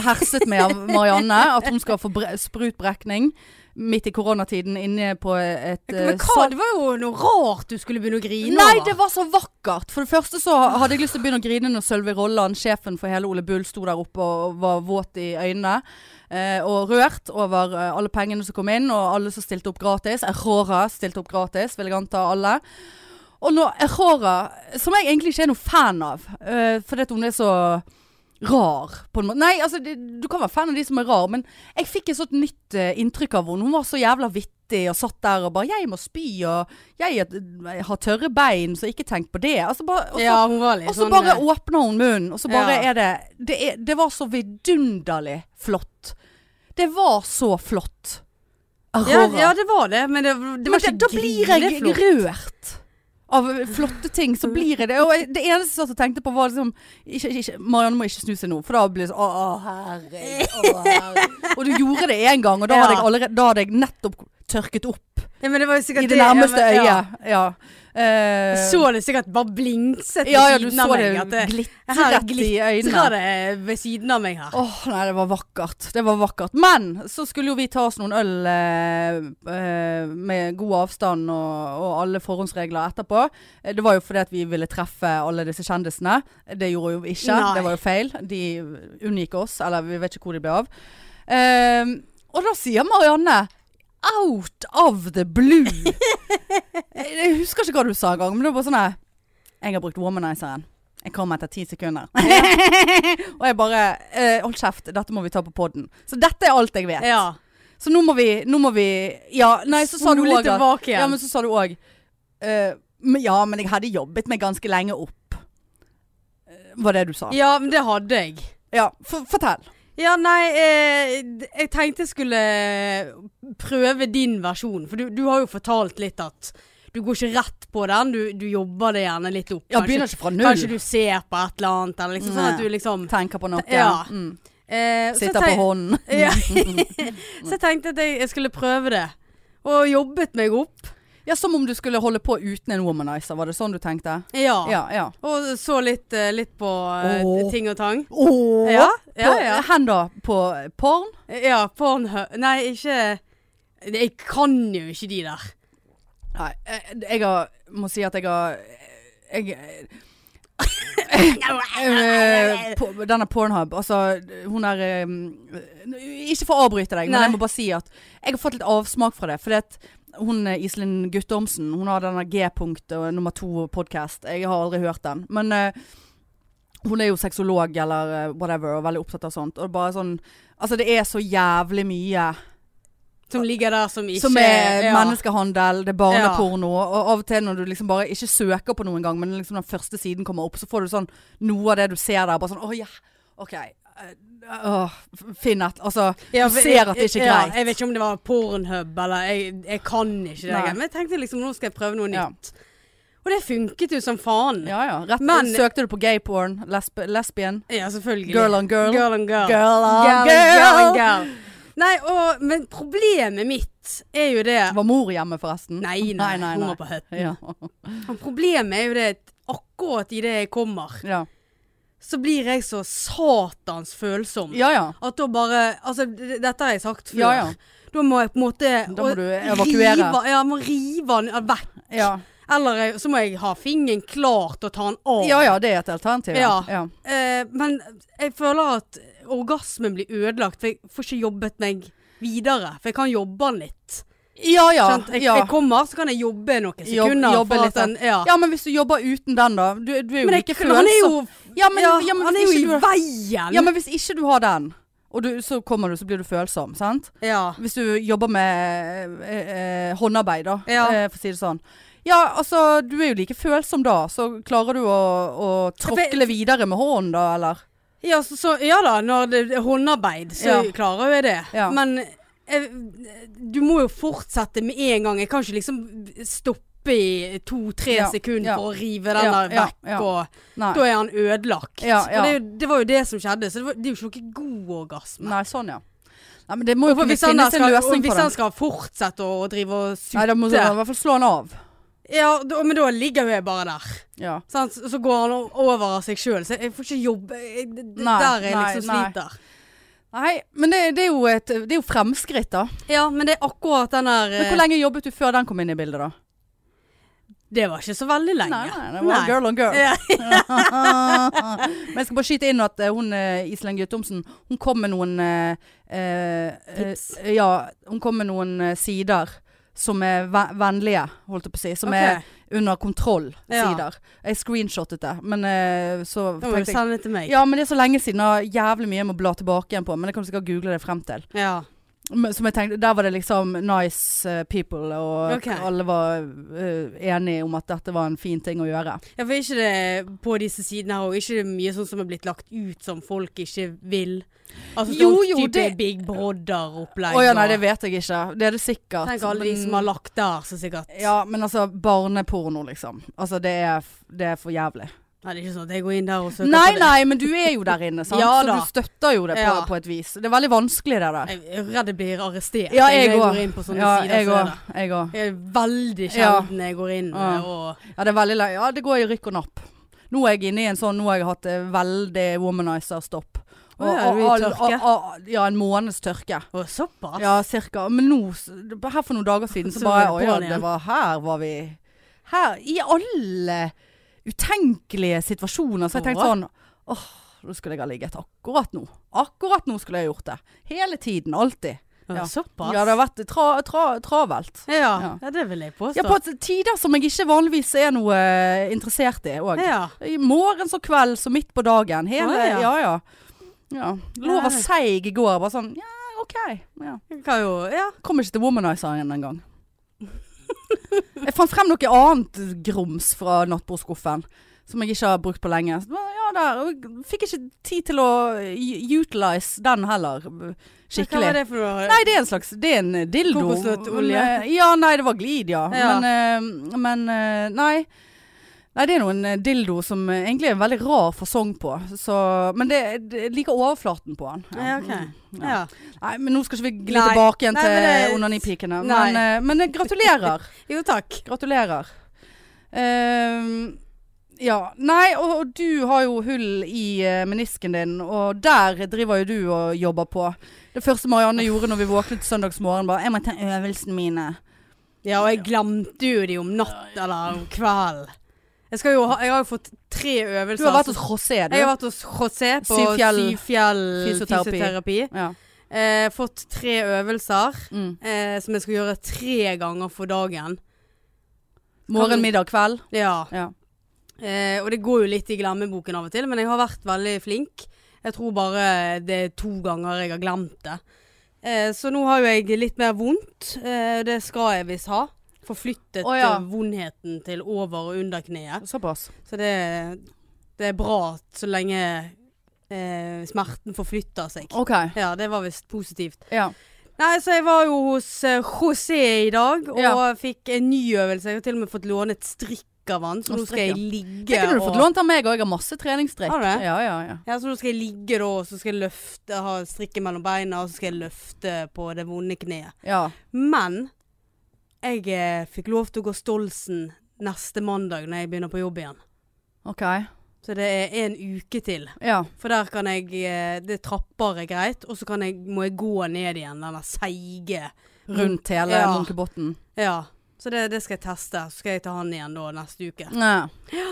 Speaker 2: herset med av Marianne. At hun skal få bre- sprutbrekning midt i koronatiden inne på et eh,
Speaker 3: Men hva,
Speaker 2: sal-
Speaker 3: det var jo noe rart du skulle begynne å grine
Speaker 2: Nei, det
Speaker 3: over.
Speaker 2: var så vakkert! For det første så hadde jeg lyst til å begynne å grine når Sølvi Rolland, sjefen for hele Ole Bull, sto der oppe og var våt i øynene. eh, og rørt over eh, alle pengene som kom inn, og alle som stilte opp gratis. Aurora stilte opp gratis, vil jeg anta alle. Og nå Aurora, som jeg egentlig ikke er noen fan av, eh, fordi at hun er så rar, på en måte. Nei, altså, det, du kan være fan av de som er rar, men jeg fikk et sånt nytt eh, inntrykk av henne. Hun var så jævla vittig og satt der og bare 'Jeg må spy', og 'Jeg, er- jeg har tørre bein, så ikke tenk på det'. Altså, bare, og så-
Speaker 3: ja, hun var litt
Speaker 2: og så
Speaker 3: sånn
Speaker 2: bare
Speaker 3: eh,
Speaker 2: åpner hun munnen, og så bare
Speaker 3: Ja.
Speaker 2: er det det, er, det var så vidunderlig flott. Det var så flott. Aurora.
Speaker 3: ja, ja, det var det, men det, det
Speaker 2: Men
Speaker 3: var ikke
Speaker 2: da blir jeg
Speaker 3: grineflott.
Speaker 2: rørt. Av flotte ting,
Speaker 3: Mm.
Speaker 2: så blir jeg det. Og jeg- det eneste jeg satt og tenkte på, var liksom ikke, ikke, Marianne må ikke snu seg nå, for da blir det sånn Å, å, herregud. å, herregud». Og du gjorde det én gang, og da
Speaker 3: Ja.
Speaker 2: hadde jeg, allerede, da hadde jeg nettopp tørket opp
Speaker 3: Ja, men det var jo sikkert
Speaker 2: i det nærmeste
Speaker 3: ja, men- ja.
Speaker 2: øyet. Ja. Eh,
Speaker 3: Jeg så det sikkert bare blingset ved
Speaker 2: ja, ja, du
Speaker 3: siden av
Speaker 2: så
Speaker 3: meg.
Speaker 2: det
Speaker 3: at det her
Speaker 2: glitret i øynene.
Speaker 3: glitrer det eh, ved siden av meg her.
Speaker 2: Åh, nei, det var vakkert. Det var vakkert. Men så skulle jo vi ta oss noen øl eh, eh, med god avstand og, og alle forhåndsregler etterpå. Eh, Det var jo fordi at vi ville treffe alle disse kjendisene. Det gjorde jo vi ikke.
Speaker 3: Nei.
Speaker 2: Det var jo feil. De unngikk oss, eller vi vet ikke hvor de ble av. Eh, og da sier Marianne Out of the blue. Jeg husker ikke hva du sa engang, men det var bare sånn her Jeg har brukt womanizeren. Jeg kom etter ti sekunder. og jeg bare eh, Hold kjeft, dette må vi ta på poden. Så dette er alt jeg vet.
Speaker 3: Ja.
Speaker 2: Så nå må vi, nå må vi Ja, nei, så sa du
Speaker 3: Spole
Speaker 2: òg at
Speaker 3: tilbake igjen.
Speaker 2: Ja, men så sa du òg Ja, men jeg hadde jobbet meg ganske lenge opp. Eh, Var det du sa?
Speaker 3: ja, men det hadde jeg.
Speaker 2: Ja, for, fortell.
Speaker 3: Ja, nei, eh, d- jeg tenkte jeg skulle eh, prøve din versjon. For du, du har jo fortalt litt at du går ikke rett på den. Du, du jobber det gjerne litt opp.
Speaker 2: Ja, begynner ikke fra null.
Speaker 3: kanskje du ser på et eller annet, eller liksom sånn at
Speaker 2: Nei.
Speaker 3: du liksom
Speaker 2: Tenker på noe.
Speaker 3: Ja.
Speaker 2: Mm.
Speaker 3: eh, så
Speaker 2: Sitter
Speaker 3: tenk-
Speaker 2: på hånden.
Speaker 3: Ja. så jeg tenkte at jeg, jeg skulle prøve det. Og jobbet meg opp.
Speaker 2: Ja, som om du skulle holde på uten en womanizer, var det sånn du tenkte?
Speaker 3: Ja.
Speaker 2: Ja, ja.
Speaker 3: Og så litt, eh, litt på eh,
Speaker 2: Åh.
Speaker 3: ting og tang.
Speaker 2: Åh!
Speaker 3: Ja, ja,
Speaker 2: På,
Speaker 3: ja.
Speaker 2: Hen da? På porn?
Speaker 3: ja Pornhub Nei, ikke Jeg kan jo ikke de der.
Speaker 2: Nei, jeg, jeg har, må si at jeg har jeg, Eh, på, denne Pornhub, altså hun er eh, Ikke for å avbryte deg, men
Speaker 3: Nei.
Speaker 2: jeg må bare si at jeg har fått litt avsmak fra det. Fordi at hun eh, Iselin Guttormsen, hun har denne G-punkt og nummer to-podkast. Jeg har aldri hørt den. Men eh, hun er jo sexolog eller eh, whatever, og veldig opptatt av sånt. Og bare sånn Altså, det er så jævlig mye
Speaker 3: Som ligger der som ikke
Speaker 2: som er
Speaker 3: ja.
Speaker 2: menneskehandel, det er barneporno. Og av og til når du liksom bare ikke søker på noe engang, men liksom den første siden kommer opp, så får du sånn noe av det du ser der, bare sånn Å ja, OK. eh, Åh, finn et Altså,
Speaker 3: Ja,
Speaker 2: du
Speaker 3: for-
Speaker 2: ser at det ikke er
Speaker 3: ja,
Speaker 2: greit.
Speaker 3: Jeg vet ikke om det var Pornhub eller Jeg, jeg kan ikke det.
Speaker 2: Nei.
Speaker 3: Men jeg tenkte liksom nå skal jeg prøve noe
Speaker 2: Ja.
Speaker 3: nytt. Og det funket jo som faen. Ja,
Speaker 2: Ja ja. Rett,
Speaker 3: Men-
Speaker 2: søkte du på gay porn? Lesb lesbian?
Speaker 3: selvfølgelig.
Speaker 2: Girl on girl?
Speaker 3: Girl on girl.
Speaker 2: Girl on
Speaker 3: Girl on
Speaker 2: girl.
Speaker 3: girl. Nei, og, men problemet mitt er jo det
Speaker 2: Var mor hjemme, forresten?
Speaker 3: Nei, nei, hun var på Høtten.
Speaker 2: Ja.
Speaker 3: Men Problemet er jo det at akkurat idet jeg kommer,
Speaker 2: Ja.
Speaker 3: så blir jeg så satans følsom.
Speaker 2: ja ja.
Speaker 3: At da bare Altså, d- dette har jeg sagt før.
Speaker 2: Ja, ja.
Speaker 3: Da må jeg på en måte
Speaker 2: Da må
Speaker 3: og
Speaker 2: du evakuere.
Speaker 3: Rive, ja, jeg må rive den av vekk.
Speaker 2: Ja
Speaker 3: Eller jeg, så må jeg ha fingeren klar til å ta den av.
Speaker 2: ja, ja det er et alternativ.
Speaker 3: Ja.
Speaker 2: ja.
Speaker 3: Eh, men jeg føler at orgasmen blir ødelagt, for jeg får ikke jobbet meg videre. For jeg kan jobbe den litt.
Speaker 2: ja, ja,
Speaker 3: Skjønt? Jeg,
Speaker 2: ja.
Speaker 3: jeg kommer, så kan jeg jobbe noen
Speaker 2: Jobb-
Speaker 3: sekunder.
Speaker 2: jobbe
Speaker 3: for
Speaker 2: litt,
Speaker 3: at den, ja.
Speaker 2: ja, men hvis du jobber uten den, da. Du, du er jo
Speaker 3: Men jeg,
Speaker 2: like
Speaker 3: han er jo,
Speaker 2: følsom. Ja, men,
Speaker 3: ja,
Speaker 2: ja, men
Speaker 3: han er
Speaker 2: hvis
Speaker 3: jo
Speaker 2: ikke du
Speaker 3: i veien.
Speaker 2: Ja, men hvis ikke du har den, og du, så kommer du, så blir du følsom, sant?
Speaker 3: ja.
Speaker 2: Hvis du jobber med eh, eh, håndarbeid, da,
Speaker 3: Ja.
Speaker 2: eh, for å si det sånn. Ja, altså, du er jo like følsom da, så klarer du å, å tråkle videre med hånden da, eller?
Speaker 3: Ja, så, så, ja da, når det er håndarbeid, så
Speaker 2: Ja.
Speaker 3: klarer jeg det.
Speaker 2: Ja.
Speaker 3: Men eh, du må jo fortsette med en gang. Jeg kan ikke liksom stoppe i to-tre
Speaker 2: Ja,
Speaker 3: sekunder
Speaker 2: ja.
Speaker 3: for å rive den
Speaker 2: Ja,
Speaker 3: der
Speaker 2: ja,
Speaker 3: vekk.
Speaker 2: ja.
Speaker 3: Og
Speaker 2: Nei.
Speaker 3: da er han ødelagt.
Speaker 2: Ja, ja.
Speaker 3: Og det, er jo- det var jo det som skjedde, så det, var, det er jo ikke noe god orgasme.
Speaker 2: Nei, sånn ja. Nei, men det må jo
Speaker 3: For
Speaker 2: kunne
Speaker 3: hvis han, da
Speaker 2: finnes en
Speaker 3: skal,
Speaker 2: løsning på
Speaker 3: og hvis han
Speaker 2: den.
Speaker 3: skal fortsette å drive og
Speaker 2: Nei,
Speaker 3: sutte
Speaker 2: da må du i hvert fall slå den av.
Speaker 3: Ja, da, men da ligger jo jeg bare der.
Speaker 2: Ja.
Speaker 3: Sant? Så går han o- over av seg sjøl. Så jeg får ikke jobbe jeg, det, det-
Speaker 2: Nei,
Speaker 3: Der jeg
Speaker 2: nei,
Speaker 3: liksom
Speaker 2: nei.
Speaker 3: sliter.
Speaker 2: Nei, men det, det, er jo et, det er jo fremskritt da.
Speaker 3: Ja, men det er akkurat den der
Speaker 2: Men
Speaker 3: eh,
Speaker 2: hvor lenge jobbet du før den kom inn i bildet da?
Speaker 3: Det var ikke så veldig lenge.
Speaker 2: Nei, nei, det var girl on girl.
Speaker 3: Ja.
Speaker 2: Men jeg skal bare skyte inn at eh, hun eh, Iselin Guttormsen Hun kom med noen eh, eh,
Speaker 3: Tips.
Speaker 2: eh, Ja, hun kom med noen eh, sider som er ve- vennlige, holdt jeg på å si. Som
Speaker 3: Ok.
Speaker 2: er under
Speaker 3: Ja.
Speaker 2: kontroll-sider. Jeg screenshottet det, men eh, så
Speaker 3: Da må du
Speaker 2: tenkte jeg
Speaker 3: sende det til meg.
Speaker 2: Ja, men det er så lenge siden, og jævlig mye jeg må bla tilbake igjen på. Men jeg kan sikkert google det frem til.
Speaker 3: Ja.
Speaker 2: Men Som jeg tenkte, Der var det liksom nice eh, people, og
Speaker 3: Ok.
Speaker 2: alle var eh, enige om at dette var en fin ting å gjøre.
Speaker 3: ja, for ikke det på disse sidene her, og ikke det mye sånn som er blitt lagt ut som folk ikke vil. Altså
Speaker 2: Jo,
Speaker 3: sånn
Speaker 2: jo,
Speaker 3: type
Speaker 2: det-
Speaker 3: Big Brother-opplegg.
Speaker 2: Å ja, nei,
Speaker 3: og-
Speaker 2: det vet jeg ikke. Det er det sikkert.
Speaker 3: Tenk alle de
Speaker 2: men-
Speaker 3: som har lagt der, så sikkert.
Speaker 2: Ja, men altså, barneporno, liksom. Altså, det er, f- det er for jævlig.
Speaker 3: Nei, det er ikke sånn at jeg går inn der og søker
Speaker 2: Nei,
Speaker 3: på det.
Speaker 2: nei, men du er jo der inne, sant?
Speaker 3: Ja
Speaker 2: så
Speaker 3: da.
Speaker 2: du støtter jo det på,
Speaker 3: Ja.
Speaker 2: på et vis. Det er veldig vanskelig det der.
Speaker 3: Jeg er redd jeg blir arrestert
Speaker 2: Ja,
Speaker 3: når
Speaker 2: jeg
Speaker 3: går
Speaker 2: òg.
Speaker 3: inn på sånne
Speaker 2: Ja,
Speaker 3: sider.
Speaker 2: jeg
Speaker 3: så er
Speaker 2: òg. Jeg òg.
Speaker 3: det- Jeg er veldig
Speaker 2: Ja.
Speaker 3: sjelden jeg går inn eh,
Speaker 2: Ja.
Speaker 3: og
Speaker 2: Ja, det er veldig lei. Ja, det går i rykk og napp. Nå er jeg inne i en sånn, nå har jeg hatt eh, veldig womanizer-stopp.
Speaker 3: Å ja, du er i tørke.
Speaker 2: ja, en måneds tørke.
Speaker 3: Å, såpass?
Speaker 2: Ja, cirka. Men nå, s- her for noen dager siden, så
Speaker 3: Så
Speaker 2: bare
Speaker 3: var
Speaker 2: Å
Speaker 3: det
Speaker 2: ja,
Speaker 3: på'n igjen.
Speaker 2: det var her var vi Her. I alle utenkelige situasjoner. Så jeg tenkte
Speaker 3: Åh.
Speaker 2: sånn Åh, nå skulle jeg ha ligget akkurat nå. Akkurat nå skulle jeg ha gjort det. Hele tiden. Alltid.
Speaker 3: Å,
Speaker 2: Ja.
Speaker 3: Såpass?
Speaker 2: Ja, det har vært tra, tra, travelt.
Speaker 3: Ja,
Speaker 2: Ja.
Speaker 3: ja, det vil jeg påstå.
Speaker 2: Ja, på tider som jeg ikke vanligvis er noe eh, interessert i òg.
Speaker 3: ja.
Speaker 2: I morgens og kvelds og midt på dagen. Hele,
Speaker 3: Å, ja.
Speaker 2: ja. ja, ja. Lå var
Speaker 3: Nei.
Speaker 2: seig i går. Bare sånn Ja, OK. Ja.
Speaker 3: Jeg Kan jo, ja.
Speaker 2: Kom ikke til womanizeren engang. Jeg fant frem noe annet grums fra nattbordskuffen. Som jeg ikke har brukt på lenge. Så bare, Ja, der. og jeg Fikk ikke tid til å u- utilize den heller.
Speaker 3: Hva var
Speaker 2: Skikkelig.
Speaker 3: det for noe?
Speaker 2: Nei, det er en slags Det er en dildo.
Speaker 3: Kokosnøttolje.
Speaker 2: Men, eh, Ja, nei, det var glid, ja.
Speaker 3: Ja.
Speaker 2: Men, eh, men eh, nei. Nei, det er noen eh, dildo som eh, egentlig er en veldig rar fasong på. Så, men det, det jeg liker overflaten på den.
Speaker 3: Ja, ok.
Speaker 2: Mm, ja.
Speaker 3: Ja.
Speaker 2: Nei, men nå skal ikke vi gli
Speaker 3: Nei.
Speaker 2: tilbake igjen
Speaker 3: Nei, men det-
Speaker 2: til onanipikene.
Speaker 3: Nei.
Speaker 2: Men, eh, men eh, gratulerer.
Speaker 3: Jo, takk.
Speaker 2: gratulerer. Ehm, ja. Nei, og, og du har jo hull i eh, menisken din, og der driver jo du og jobber på. Det første Marianne gjorde når vi våknet søndagsmorgen, bare 'Jeg må ta øvelsene mine'.
Speaker 3: Ja, og jeg glemte jo de om natt eller om kveld. Jeg, skal jo ha, jeg har jo fått tre øvelser.
Speaker 2: Du har vært hos José, du.
Speaker 3: Jeg har vært hos José på Syfjell,
Speaker 2: Syvfjell
Speaker 3: fysioterapi.
Speaker 2: fysioterapi. Ja.
Speaker 3: Eh, fått tre øvelser
Speaker 2: Mm.
Speaker 3: eh, som jeg skal gjøre tre ganger for dagen.
Speaker 2: Morgen, middag, kveld.
Speaker 3: Ja.
Speaker 2: Ja.
Speaker 3: Eh, og det går jo litt i glemmeboken av og til, men jeg har vært veldig flink. Jeg tror bare det er to ganger jeg har glemt det. Eh, så nå har jo jeg litt mer vondt. Eh, det skal jeg visst ha. Forflyttet
Speaker 2: Å, ja.
Speaker 3: eh, vondheten til over og under kneet.
Speaker 2: Såpass.
Speaker 3: Så det, det er bra at så lenge eh, smerten forflytter seg.
Speaker 2: OK.
Speaker 3: Ja, det var visst positivt.
Speaker 2: Ja.
Speaker 3: Nei, så jeg var jo hos eh, José i dag og
Speaker 2: Ja.
Speaker 3: fikk en ny øvelse. Jeg har til og med fått låne et strikk av han, så
Speaker 2: Og
Speaker 3: nå skal jeg
Speaker 2: strikk,
Speaker 3: ligge
Speaker 2: Det kunne du
Speaker 3: og
Speaker 2: fått lånt av meg òg. Jeg har masse treningsdrikk.
Speaker 3: Har du det?
Speaker 2: Ja, ja, ja.
Speaker 3: Ja, så nå skal jeg ligge da, og så skal jeg løfte, ha strikken mellom beina, og så skal jeg løfte på det vonde kneet.
Speaker 2: ja.
Speaker 3: Men jeg eh, fikk lov til å gå Stolsen neste mandag når jeg begynner på jobb igjen.
Speaker 2: OK.
Speaker 3: Så det er en uke til.
Speaker 2: Ja.
Speaker 3: For der kan jeg eh, Det trapper er greit, og så kan jeg, må jeg gå ned igjen denne seige
Speaker 2: Rundt hele
Speaker 3: Ja.
Speaker 2: Munkebotn.
Speaker 3: Ja. Så det, det skal jeg teste. Så skal jeg ta han igjen da neste uke.
Speaker 2: Ja.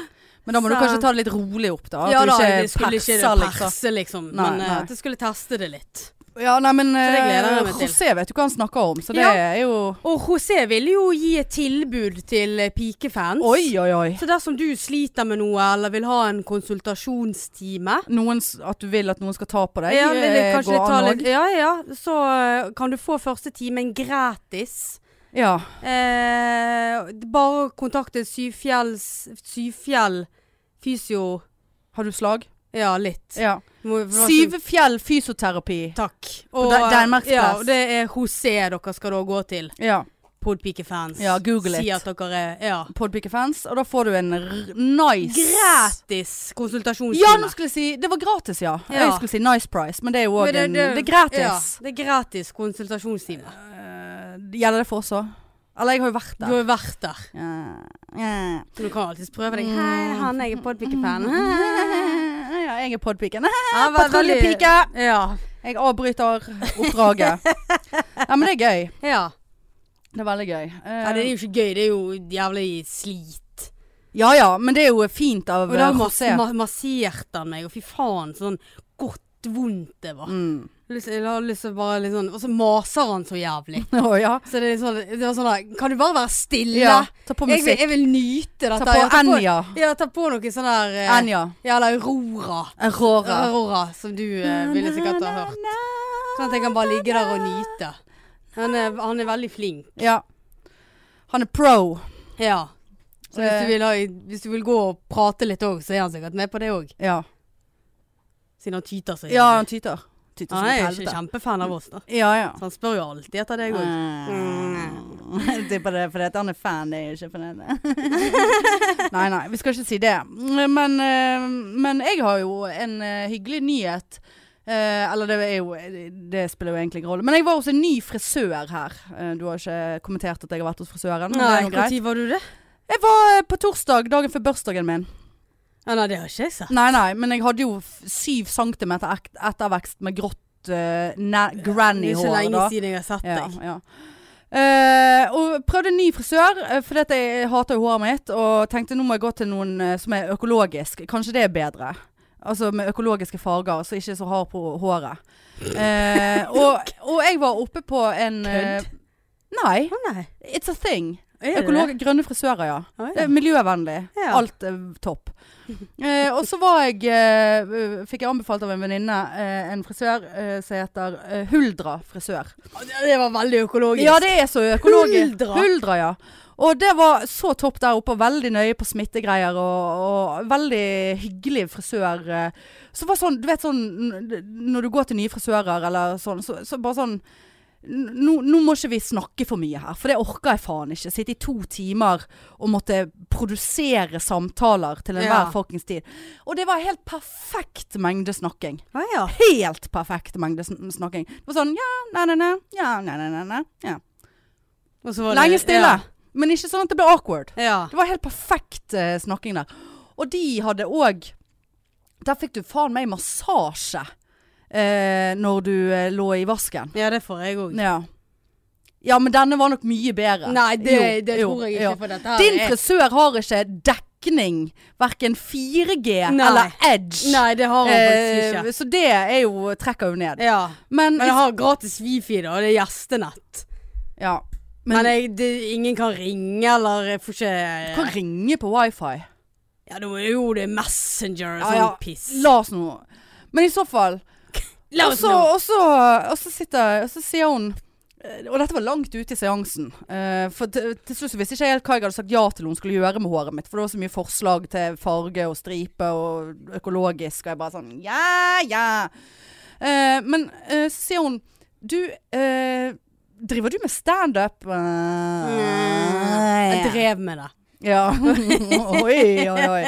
Speaker 2: Men da må du
Speaker 3: Så-
Speaker 2: kanskje ta det litt rolig opp, da. At
Speaker 3: Ja
Speaker 2: du
Speaker 3: da,
Speaker 2: ikke
Speaker 3: jeg skulle ikke
Speaker 2: perser, liksom.
Speaker 3: perse, liksom.
Speaker 2: Nei,
Speaker 3: men eh,
Speaker 2: nei.
Speaker 3: at jeg skulle teste det litt.
Speaker 2: Ja, nei, men
Speaker 3: Så det gleder jeg
Speaker 2: eh,
Speaker 3: meg til.
Speaker 2: José vet jo hva han snakker om, så det
Speaker 3: Ja.
Speaker 2: er jo
Speaker 3: Og José ville jo gi et tilbud til eh, pikefans.
Speaker 2: Oi, oi, oi.
Speaker 3: Så dersom du sliter med noe eller vil ha en konsultasjonstime
Speaker 2: Noen, s- at du vil at noen skal ta på deg,
Speaker 3: ja, vil jeg
Speaker 2: eh,
Speaker 3: kanskje
Speaker 2: går
Speaker 3: ta
Speaker 2: an
Speaker 3: litt,
Speaker 2: òg.
Speaker 3: ja, ja, så eh, kan du få første timen gratis.
Speaker 2: Ja.
Speaker 3: Eh, bare kontakte Syfjells, Syfjell fysio
Speaker 2: Har du slag?
Speaker 3: Ja, litt.
Speaker 2: Ja.
Speaker 3: Må- for-
Speaker 2: Syvfjell fysioterapi.
Speaker 3: Takk.
Speaker 2: Dan- Danmarksplass.
Speaker 3: ja, og det er José dere skal da gå til.
Speaker 2: Ja.
Speaker 3: Podpikefans.
Speaker 2: Ja, google
Speaker 3: Si
Speaker 2: it.
Speaker 3: at dere er ja.
Speaker 2: Podpikefans, og da får du en r nice
Speaker 3: Gratis
Speaker 2: Ja, nå
Speaker 3: konsultasjonstime.
Speaker 2: skulle jeg si Det var gratis, ja.
Speaker 3: Ja.
Speaker 2: Jeg skulle si nice price, men det er jo òg
Speaker 3: Men
Speaker 2: en Det er gratis.
Speaker 3: Ja, det er gratis konsultasjonstime.
Speaker 2: Eh, gjelder det for oss òg? Eller jeg har jo vært
Speaker 3: Du
Speaker 2: der.
Speaker 3: har jo vært der.
Speaker 2: Ja. Ja.
Speaker 3: Du kan alltids prøve deg.
Speaker 2: Mm.
Speaker 3: Hei, han jeg er podpikefan.
Speaker 2: Ja, jeg er podpiken.
Speaker 3: Ja, ve-
Speaker 2: Patruljepike!
Speaker 3: veldig- Ja.
Speaker 2: Jeg avbryter oppdraget. Ja, men det er gøy.
Speaker 3: ja.
Speaker 2: Det er veldig gøy. Eh,
Speaker 3: ja. Det er jo ikke gøy, det er jo jævlig slit.
Speaker 2: ja ja, men det er jo fint av
Speaker 3: Og da
Speaker 2: eh,
Speaker 3: mas
Speaker 2: José.
Speaker 3: ma masserte han meg, og fy faen, sånn godt vondt det var.
Speaker 2: Mm.
Speaker 3: Lyst- Jeg har lyst til å bare litt sånn Og så maser han så jævlig.
Speaker 2: Å ja.
Speaker 3: Så det, er sånn, det var sånn der Kan du bare være stille?
Speaker 2: ja. Ta på
Speaker 3: jeg, vil,
Speaker 2: musikk.
Speaker 3: jeg vil nyte dette.
Speaker 2: Ta på
Speaker 3: Ja,
Speaker 2: Enja.
Speaker 3: Ja, ta på noe sånn der eh,
Speaker 2: Enja.
Speaker 3: Ja, eller Aurora.
Speaker 2: Aurora.
Speaker 3: Aurora, som du eh, ville sikkert ha hørt. Sånn at jeg kan bare ligge der og nyte. Han er, han er veldig flink.
Speaker 2: Ja. Han er pro.
Speaker 3: Ja. Så hvis
Speaker 2: Eh.
Speaker 3: du, vil ha, hvis du vil gå og prate litt òg, så er han sikkert med på det òg.
Speaker 2: Ja.
Speaker 3: Siden han tyter så
Speaker 2: Ja,
Speaker 3: jævlig.
Speaker 2: han tyter. Tyter
Speaker 3: Han
Speaker 2: som
Speaker 3: Ah,
Speaker 2: et
Speaker 3: er jo ikke
Speaker 2: helvete.
Speaker 3: kjempefan av oss, da.
Speaker 2: Ja, ja.
Speaker 3: Så han spør jo alltid etter deg òg.
Speaker 2: Mm. Jeg tipper
Speaker 3: Ah.
Speaker 2: det er fordi at han er fan, det er ikke fordi det Nei, nei, vi skal ikke si det. Men, eh, men jeg har jo en eh, hyggelig nyhet. Eh, eller det er jo Det spiller jo egentlig ingen rolle. Men jeg var hos en ny frisør her. Eh, du har ikke kommentert at jeg har vært hos frisøren? men det er
Speaker 3: Nei,
Speaker 2: jo greit.
Speaker 3: når var du det?
Speaker 2: Jeg var eh, på torsdag, dagen før bursdagen min.
Speaker 3: Ja, nei, det har ikke jeg sett.
Speaker 2: Nei, nei, men jeg hadde jo f- syv centimeter ek- ettervekst med grått eh, na-
Speaker 3: Det er ikke
Speaker 2: granny-hår.
Speaker 3: lenge
Speaker 2: da.
Speaker 3: siden jeg har sett
Speaker 2: Ja,
Speaker 3: deg.
Speaker 2: ja. Eh, og prøvde en ny frisør, eh, fordi at jeg hater jo håret mitt. Og tenkte nå må jeg gå til noen eh, som er økologisk. Kanskje det er bedre. Altså med økologiske farger, så ikke er så hard på håret. Eh, og, og jeg var oppe på en eh,
Speaker 3: Kødd?
Speaker 2: Nei,
Speaker 3: Å nei.
Speaker 2: it's a thing.
Speaker 3: Er det
Speaker 2: Økolog,
Speaker 3: det?
Speaker 2: grønne frisører, ja.
Speaker 3: Å, ja.
Speaker 2: Det er miljøvennlig.
Speaker 3: Ja.
Speaker 2: Alt er topp. Eh, og så var jeg eh, Fikk jeg anbefalt av en venninne eh, en frisør eh, som heter eh, Huldra frisør.
Speaker 3: Ja, Det var veldig økologisk.
Speaker 2: Ja, det er så økologisk.
Speaker 3: Huldra.
Speaker 2: Huldra, ja. Og det var så topp der oppe, og veldig nøye på smittegreier, og, og veldig hyggelig frisør. eh. Så det var sånn, du vet sånn, n- når du går til nye frisører eller sånn, så, så bare sånn, n- nå, nå må ikke vi snakke for mye her, for det orker jeg faen ikke. Sitte i to timer og måtte produsere samtaler til enhver
Speaker 3: Ja.
Speaker 2: fuckings tid. Og det var helt perfekt mengde snakking
Speaker 3: Å, ja.
Speaker 2: helt perfekt mengde sn snakking. Det var sånn ja, nei, nei, nei, ja, nei, nei, nei, nei. Ja.
Speaker 3: Og så var det-
Speaker 2: Lenge stille. Men ikke sånn at det ble awkward.
Speaker 3: Ja. ja.
Speaker 2: Det var helt perfekt eh, snakking der. Og de hadde òg Der fikk du faen meg massasje eh, når du eh, lå i vasken.
Speaker 3: Ja, det får jeg òg.
Speaker 2: Ja. ja, men denne var nok mye bedre.
Speaker 3: Nei, det,
Speaker 2: Jo,
Speaker 3: det
Speaker 2: jo,
Speaker 3: tror jeg ikke,
Speaker 2: ja.
Speaker 3: for dette her
Speaker 2: Din
Speaker 3: er-
Speaker 2: frisør har ikke dekning, verken 4G
Speaker 3: Nei.
Speaker 2: eller Edge.
Speaker 3: Nei, det har han faktisk
Speaker 2: Eh,
Speaker 3: ikke.
Speaker 2: så det er jo trekker jo ned.
Speaker 3: Ja.
Speaker 2: Men,
Speaker 3: Men jeg har gratis wifi, da. og Det er gjestenett.
Speaker 2: ja.
Speaker 3: Men, jeg, det, ingen kan ringe, eller jeg får ikke
Speaker 2: Du kan ringe på wifi.
Speaker 3: Ja, det er jo det er Messenger og
Speaker 2: Ja,
Speaker 3: sånn
Speaker 2: ja.
Speaker 3: piss.
Speaker 2: La oss nå. Men i så fall
Speaker 3: La
Speaker 2: Og
Speaker 3: oss
Speaker 2: så,
Speaker 3: nå.
Speaker 2: og så, og så sitter Og så sier hun eh, og dette var langt ute i seansen. eh, for til, til slutt så visste ikke jeg helt hva jeg hadde sagt ja til hun skulle gjøre med håret mitt. For det var så mye forslag til farge og stripe og økologisk. Og jeg bare sånn Ja, ja. Eh, men eh, så sier hun Du, eh, driver du med standup? Eh,
Speaker 3: Jeg drev med det.
Speaker 2: Ja. oi, oi, oi.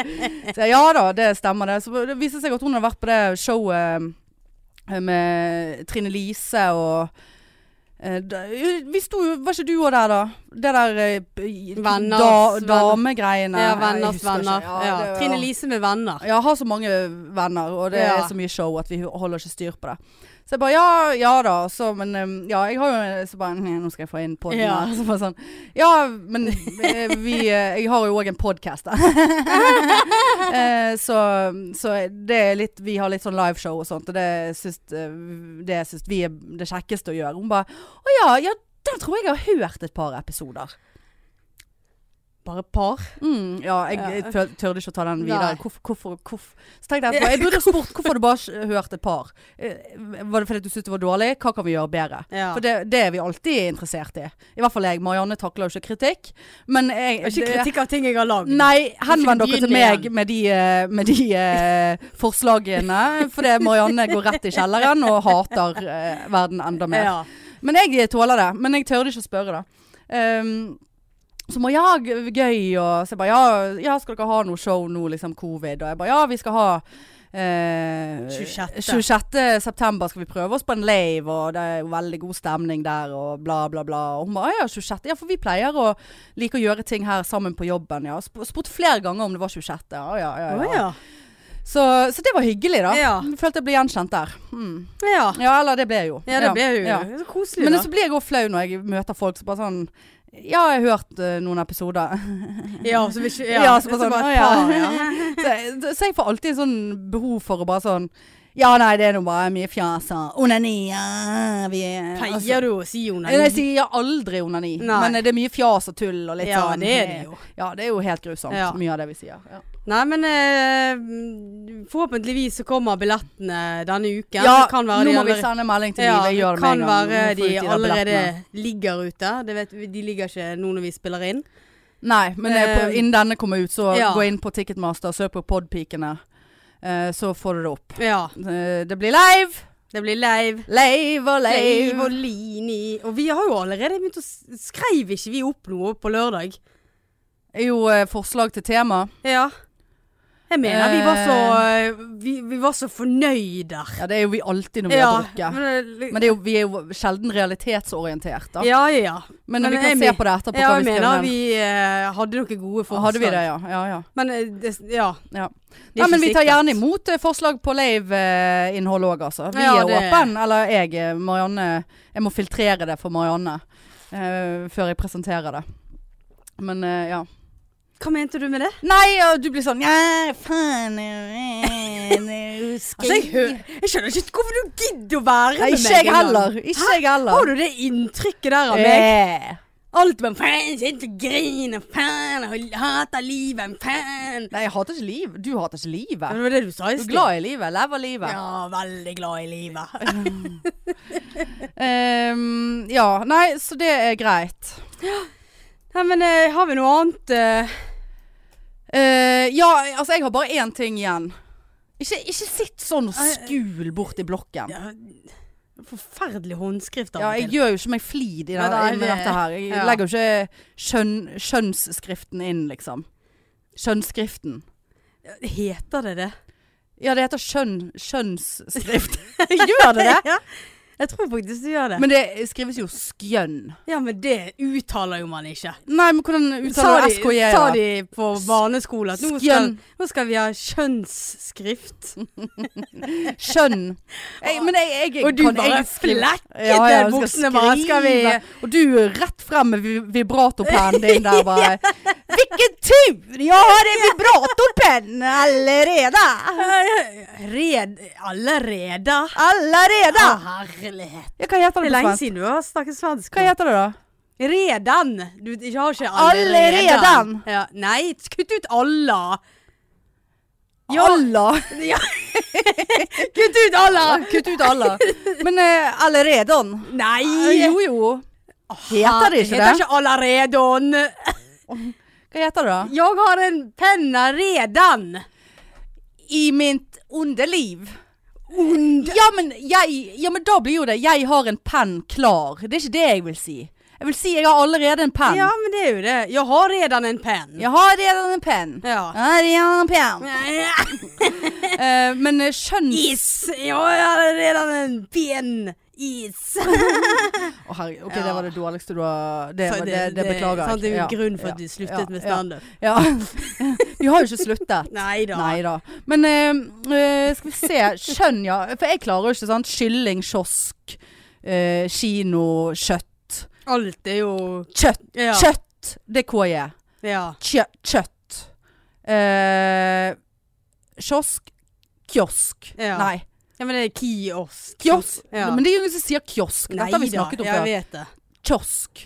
Speaker 2: Så, jeg, ja da, det stemmer det. Så det viser seg at hun har vært på det showet eh, med Trine Lise og eh, da- vi sto jo, Var ikke du òg der, da? Det der eh, b-
Speaker 3: Venners venner.
Speaker 2: damegreiene.
Speaker 3: Ja,
Speaker 2: Jeg
Speaker 3: Venners
Speaker 2: husker ikke.
Speaker 3: venner. Ja,
Speaker 2: det-
Speaker 3: Trine Lise med venner.
Speaker 2: ja, jeg har så mange venner, og det
Speaker 3: Ja.
Speaker 2: er så mye show at vi holder ikke styr på det. Så jeg bare ja, ja da, så, men um, ja, jeg har jo Så bare «Nei, nå skal jeg få inn podden
Speaker 3: Ja.
Speaker 2: her. Så bare sånn Ja, men eh, vi eh, Jeg har jo òg en podkast, da. Eh, så, så det er litt Vi har litt sånn liveshow og sånt, og det syns, eh, det syns vi er det kjekkeste å gjøre. Hun bare Å ja, ja, den tror jeg jeg har hørt et par episoder.
Speaker 3: Bare par.
Speaker 2: Mm, ja, jeg, jeg
Speaker 3: Ja.
Speaker 2: tør- tørde ikke å ta den videre.
Speaker 3: Nei.
Speaker 2: Hvorfor, hvorfor, hvorfor? Så tenkte jeg etterpå, jeg burde spurt hvorfor har du bare hørt et par. Eh, Var det fordi du syntes det var dårlig? Hva kan vi gjøre bedre?
Speaker 3: Ja.
Speaker 2: For det, det er vi alltid interessert i. I hvert fall jeg. Marianne takler jo ikke kritikk. Men jeg
Speaker 3: Det er ikke kritikk av ting jeg har lagd.
Speaker 2: Nei, henvend
Speaker 3: Ikke
Speaker 2: dere til
Speaker 3: begynn
Speaker 2: meg
Speaker 3: igjen.
Speaker 2: med de, eh, med de eh, forslagene. Fordi Marianne går rett i kjelleren og hater eh, verden enda mer.
Speaker 3: Ja.
Speaker 2: Men jeg tåler det. Men jeg tørde ikke å spørre, da. Ehm, så må jeg ha g- gøy, og så jeg bare ja, ja, skal dere ha noe show nå, liksom covid? Og jeg bare ja, vi skal ha eh,
Speaker 3: 26..
Speaker 2: 26. september skal vi prøve oss på en lave, og det er jo veldig god stemning der, og bla, bla, bla. Og hun bare ja, 26. Ja, for vi pleier å like å gjøre ting her sammen på jobben, ja. Sp- Spurte flere ganger om det var 26. Ja, ja, ja.
Speaker 3: Å
Speaker 2: ja.
Speaker 3: ja.
Speaker 2: Så, så det var hyggelig, da.
Speaker 3: Ja.
Speaker 2: Følte jeg ble gjenkjent der. Mm.
Speaker 3: ja.
Speaker 2: Ja, eller det ble jeg jo.
Speaker 3: Ja, det ble jo
Speaker 2: Ja.
Speaker 3: så koselig,
Speaker 2: Men
Speaker 3: da.
Speaker 2: så blir jeg òg flau når jeg møter folk som bare sånn Ja, jeg har hørt eh, noen episoder.
Speaker 3: Ja, så vil ikke Ja,
Speaker 2: Ja, så bare sånn,
Speaker 3: et
Speaker 2: å ja.
Speaker 3: par, ja.
Speaker 2: Så, jeg- så jeg får alltid en sånn behov for å bare sånn Ja, nei, det er nå bare mye fjas og onani. ja, Vi er
Speaker 3: Pleier du å si Jonas?
Speaker 2: Jeg sier aldri onani,
Speaker 3: Nei.
Speaker 2: men eh, det er mye fjas og tull og litt
Speaker 3: Ja,
Speaker 2: sånn.
Speaker 3: det er det jo.
Speaker 2: Ja, det er jo helt grusomt,
Speaker 3: Ja.
Speaker 2: mye av det vi sier. Ja,
Speaker 3: Nei, men eh, forhåpentligvis så kommer billettene denne uken.
Speaker 2: ja
Speaker 3: Det kan være
Speaker 2: nå
Speaker 3: de
Speaker 2: må vi
Speaker 3: allerede-
Speaker 2: sende melding til
Speaker 3: Ja,
Speaker 2: Live. Jeg gjør det
Speaker 3: kan
Speaker 2: med en gang.
Speaker 3: være
Speaker 2: Nå får
Speaker 3: de
Speaker 2: vi ut der
Speaker 3: allerede
Speaker 2: billettene.
Speaker 3: ligger ute. Det vet vi, de ligger ikke nå når vi spiller inn.
Speaker 2: Nei, men eh, på,
Speaker 3: Eh,
Speaker 2: innen denne kommer ut, så
Speaker 3: ja.
Speaker 2: gå inn på Ticketmaster, søk på Podpikene, eh, så får du det opp.
Speaker 3: Ja.
Speaker 2: Eh, det blir live.
Speaker 3: Det blir live.
Speaker 2: Leiv og leiv.
Speaker 3: Leiv og Lini. Og vi har jo allerede begynt å s- Skreiv ikke vi opp noe på lørdag?
Speaker 2: Er jo eh, forslag til tema.
Speaker 3: Ja. Eh. Jeg mener vi var så Vi, vi var så fornøyder.
Speaker 2: Ja, det er jo vi alltid når vi har drukket.
Speaker 3: men, eh,
Speaker 2: Men det er jo, vi er jo sjelden realitetsorientert, da.
Speaker 3: ja, ja, ja.
Speaker 2: Men,
Speaker 3: men
Speaker 2: vi kan
Speaker 3: jeg
Speaker 2: se
Speaker 3: men-
Speaker 2: på det etterpå.
Speaker 3: Ja,
Speaker 2: hva
Speaker 3: jeg
Speaker 2: vi skrev ned.
Speaker 3: mener vi eh, hadde noen gode forslag.
Speaker 2: Hadde vi det, ja. ja, ja.
Speaker 3: Men eh, det, ja.
Speaker 2: Ja.
Speaker 3: Det er
Speaker 2: Nei, men
Speaker 3: ikke
Speaker 2: vi tar
Speaker 3: sikkert.
Speaker 2: gjerne imot eh, forslag på live-innhold òg, altså. Vi
Speaker 3: Ja,
Speaker 2: er
Speaker 3: det-
Speaker 2: åpen, eller jeg, eh, Marianne. Jeg må filtrere det for Marianne eh, før jeg presenterer det. Men eh, ja.
Speaker 3: Hva mente du med det?
Speaker 2: Nei, og du blir sånn Ja, faen eh, eh,
Speaker 3: Altså,
Speaker 2: husker
Speaker 3: jeg, hø- jeg skjønner ikke hvorfor du gidder å være
Speaker 2: Nei,
Speaker 3: med meg.
Speaker 2: ikke jeg
Speaker 3: engang.
Speaker 2: heller. Ikke jeg heller.
Speaker 3: Har du det inntrykket der av meg?
Speaker 2: Eh.
Speaker 3: Alt med faen, sitter og griner, faen, jeg hater livet, faen.
Speaker 2: Nei, jeg hater ikke liv. Du hater ikke livet.
Speaker 3: Det var det du sa
Speaker 2: Du
Speaker 3: i
Speaker 2: er
Speaker 3: sted.
Speaker 2: glad i livet. Lever livet.
Speaker 3: Ja, veldig glad i livet.
Speaker 2: Ehm, ja. Nei, så det er greit.
Speaker 3: Nei, men eh, har vi noe annet? eh?
Speaker 2: Eh, ja, altså jeg har bare én ting igjen. Ikke, ikke sitt sånn og skul bort i blokken.
Speaker 3: Ja, forferdelig håndskrift av
Speaker 2: Ja, jeg
Speaker 3: og til.
Speaker 2: gjør jo ikke meg flid i det,
Speaker 3: Nei, nei,
Speaker 2: med
Speaker 3: det-
Speaker 2: dette her. Jeg
Speaker 3: ja.
Speaker 2: legger jo ikke skjønn, skjønnsskriften inn, liksom. Skjønnskriften.
Speaker 3: Heter det det?
Speaker 2: Ja, det heter skjønn, skjønnsskrift. gjør det det?
Speaker 3: ja. Jeg tror faktisk du gjør det.
Speaker 2: Men det skrives jo skjønn.
Speaker 3: ja, men det uttaler jo man ikke.
Speaker 2: Nei, men hvordan
Speaker 3: Sa
Speaker 2: uttaler du
Speaker 3: de,
Speaker 2: SKJ?
Speaker 3: sa
Speaker 2: da?
Speaker 3: de på barneskole at nå skal,
Speaker 2: Skjønn.
Speaker 3: nå skal vi ha kjønnsskrift?
Speaker 2: Skjønn. Jeg, men jeg, jeg,
Speaker 3: Og du
Speaker 2: kan-
Speaker 3: bare
Speaker 2: jeg skriver-
Speaker 3: flekket
Speaker 2: Ja, ja, du skal
Speaker 3: buksene bare. Skal vi
Speaker 2: skrive. Og du er rett frem med vi- vibratorpennen din der bare. Hvilken tur! Jeg har en vibratorpenn allerede!
Speaker 3: Red, allerede?
Speaker 2: Allerede!
Speaker 3: Å, herlighet.
Speaker 2: Ja, hva heter
Speaker 3: Ah. Det
Speaker 2: det
Speaker 3: er
Speaker 2: på
Speaker 3: lenge
Speaker 2: svensk?
Speaker 3: siden du har snakket svensk.
Speaker 2: Hva heter det da?
Speaker 3: Redan. Du jeg har ikke
Speaker 2: Alleredan.
Speaker 3: Ja, nei, kutt ut alla. Ja.
Speaker 2: Allah.
Speaker 3: Ja. kutt ut alla.
Speaker 2: Kutt ut Allah. Men eh, alleredon?
Speaker 3: Nei.
Speaker 2: Eh, Jo jo. Heter det ikke
Speaker 3: Ah, Heter
Speaker 2: det?
Speaker 3: ikke allaredon.
Speaker 2: Hva heter det da?
Speaker 3: Jeg har en penna redan.
Speaker 2: I mitt underliv.
Speaker 3: Ond.
Speaker 2: Ja men, jeg, ja, men da blir jo det 'jeg har en penn klar'. Det er ikke det jeg vil si. Jeg vil si 'jeg har allerede en penn'.
Speaker 3: Ja, men det er jo det. Jeg har redan en penn.
Speaker 2: Jeg har allerede en penn.
Speaker 3: Ja.
Speaker 2: Jeg har allerede en penn. Eh, men eh, skjønns...
Speaker 3: Is. Jeg har redan en penn. Is.
Speaker 2: Å, herregud. Ok,
Speaker 3: Ja.
Speaker 2: det var det dårligste du har Det,
Speaker 3: Så
Speaker 2: var- det, det beklager jeg.
Speaker 3: sant, det er jo
Speaker 2: Ja,
Speaker 3: grunn for at
Speaker 2: ja,
Speaker 3: du sluttet med
Speaker 2: ja,
Speaker 3: standup.
Speaker 2: ja. Vi har jo ikke sluttet.
Speaker 3: Nei da.
Speaker 2: Nei da. Men eh, eh, skal vi se. Skjønn, ja. For jeg klarer jo ikke sant. Kylling, kiosk, eh, kino, kjøtt.
Speaker 3: Alt er jo
Speaker 2: Kjøtt!
Speaker 3: Ja.
Speaker 2: Kjøtt! Det er KJ.
Speaker 3: ja.
Speaker 2: Kjøtt. kjøtt. Eh, kiosk. Kiosk.
Speaker 3: Ja.
Speaker 2: Nei.
Speaker 3: ja, men det er kiosk.
Speaker 2: Kiosk.
Speaker 3: Ja.
Speaker 2: Men det er jo ingen som sier kiosk. Dette har vi snakket om
Speaker 3: jeg
Speaker 2: før.
Speaker 3: vet det.
Speaker 2: Kiosk.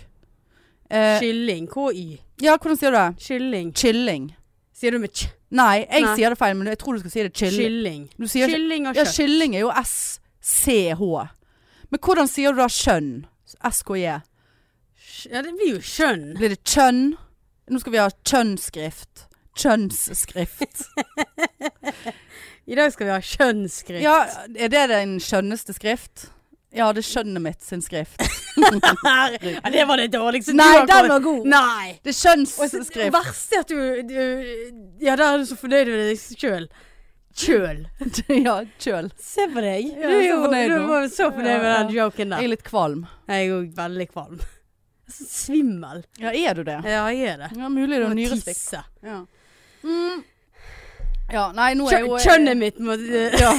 Speaker 2: Eh,
Speaker 3: Kylling. KY.
Speaker 2: ja, hvordan sier du det?
Speaker 3: Kylling.
Speaker 2: Kylling.
Speaker 3: Sier du med ch?
Speaker 2: Nei, jeg
Speaker 3: Nei.
Speaker 2: sier det feil, men jeg tror du skal si det kylling.
Speaker 3: Kylling.
Speaker 2: Du sier ikke-
Speaker 3: Kylling og
Speaker 2: Ja,
Speaker 3: kjøtt.
Speaker 2: kylling er jo SCH. Men hvordan sier du da kjønn? SKJ.
Speaker 3: Ja, det blir jo kjønn.
Speaker 2: Blir det kjønn? Nå skal vi ha kjønnsskrift. Kjønnsskrift.
Speaker 3: I dag skal vi ha kjønnsskrift.
Speaker 2: Ja, er det den skjønneste skrift? Ja, det er skjønnet mitt sin skrift.
Speaker 3: ja, det var det dårligste du
Speaker 2: Nei, den
Speaker 3: har kommet-
Speaker 2: var god.
Speaker 3: Nei.
Speaker 2: Det er
Speaker 3: Og så- Det
Speaker 2: kjønnsskrift.
Speaker 3: verste er at du, du Ja, der er du så fornøyd med deg sjøl. Kjøl.
Speaker 2: Ja, kjøl.
Speaker 3: Se på deg. Du
Speaker 2: Ja,
Speaker 3: er
Speaker 2: så
Speaker 3: jo
Speaker 2: fornøyd
Speaker 3: du
Speaker 2: nå.
Speaker 3: var så fornøyd med
Speaker 2: Ja,
Speaker 3: den joken
Speaker 2: Jeg er
Speaker 3: der.
Speaker 2: litt kvalm.
Speaker 3: Jeg er jo veldig kvalm. Jeg er så svimmel.
Speaker 2: Ja, er du det?
Speaker 3: Ja, jeg er det.
Speaker 2: Ja, mulig det
Speaker 3: Jeg
Speaker 2: er
Speaker 3: må
Speaker 2: nyresvikt.
Speaker 3: tisse.
Speaker 2: Ja. Mm. ja, nei, nå er
Speaker 3: Kjø-
Speaker 2: jo eh,
Speaker 3: Kjønnet mitt må
Speaker 2: Ja,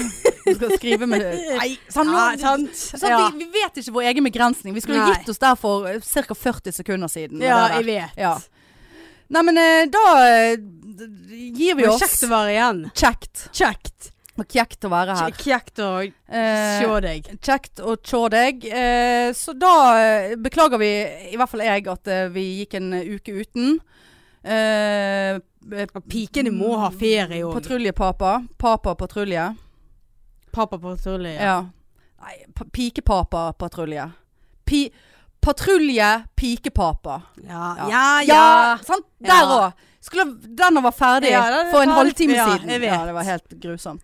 Speaker 2: du skal skrive med Nei, sånn, nå,
Speaker 3: Ja, sant?
Speaker 2: sånn,
Speaker 3: ja.
Speaker 2: vi, vi vet ikke vår egen begrensning. Vi skulle
Speaker 3: Nei.
Speaker 2: gitt oss der for ca. 40 sekunder siden. med
Speaker 3: ja,
Speaker 2: det der.
Speaker 3: jeg vet.
Speaker 2: Ja. Nei, men eh, da eh, d- d- gir vi
Speaker 3: Det var
Speaker 2: oss
Speaker 3: kjekt å være igjen.
Speaker 2: Kjekt.
Speaker 3: Kjekt.
Speaker 2: Og kjekt å være her.
Speaker 3: Kjekt å
Speaker 2: Eh,
Speaker 3: se deg.
Speaker 2: Kjekt å se deg. Eh, så da eh, beklager vi, i hvert fall jeg, at eh, vi gikk en uke uten. Eh, eh,
Speaker 3: Og pikene må ha ferie òg.
Speaker 2: Patruljepapa. Papa-patrulje.
Speaker 3: Pappa på Turli.
Speaker 2: Ja. Nei, pa pikepapa-patrulje. Pi patrulje pikepapa.
Speaker 3: Ja.
Speaker 2: Ja.
Speaker 3: Ja, ja.
Speaker 2: sant? Der
Speaker 3: Ja.
Speaker 2: òg. Skulle, den var ferdig
Speaker 3: Ja, den er
Speaker 2: for en
Speaker 3: ferdig.
Speaker 2: halvtime
Speaker 3: Ja,
Speaker 2: siden.
Speaker 3: jeg vet.
Speaker 2: Ja, det var helt grusomt.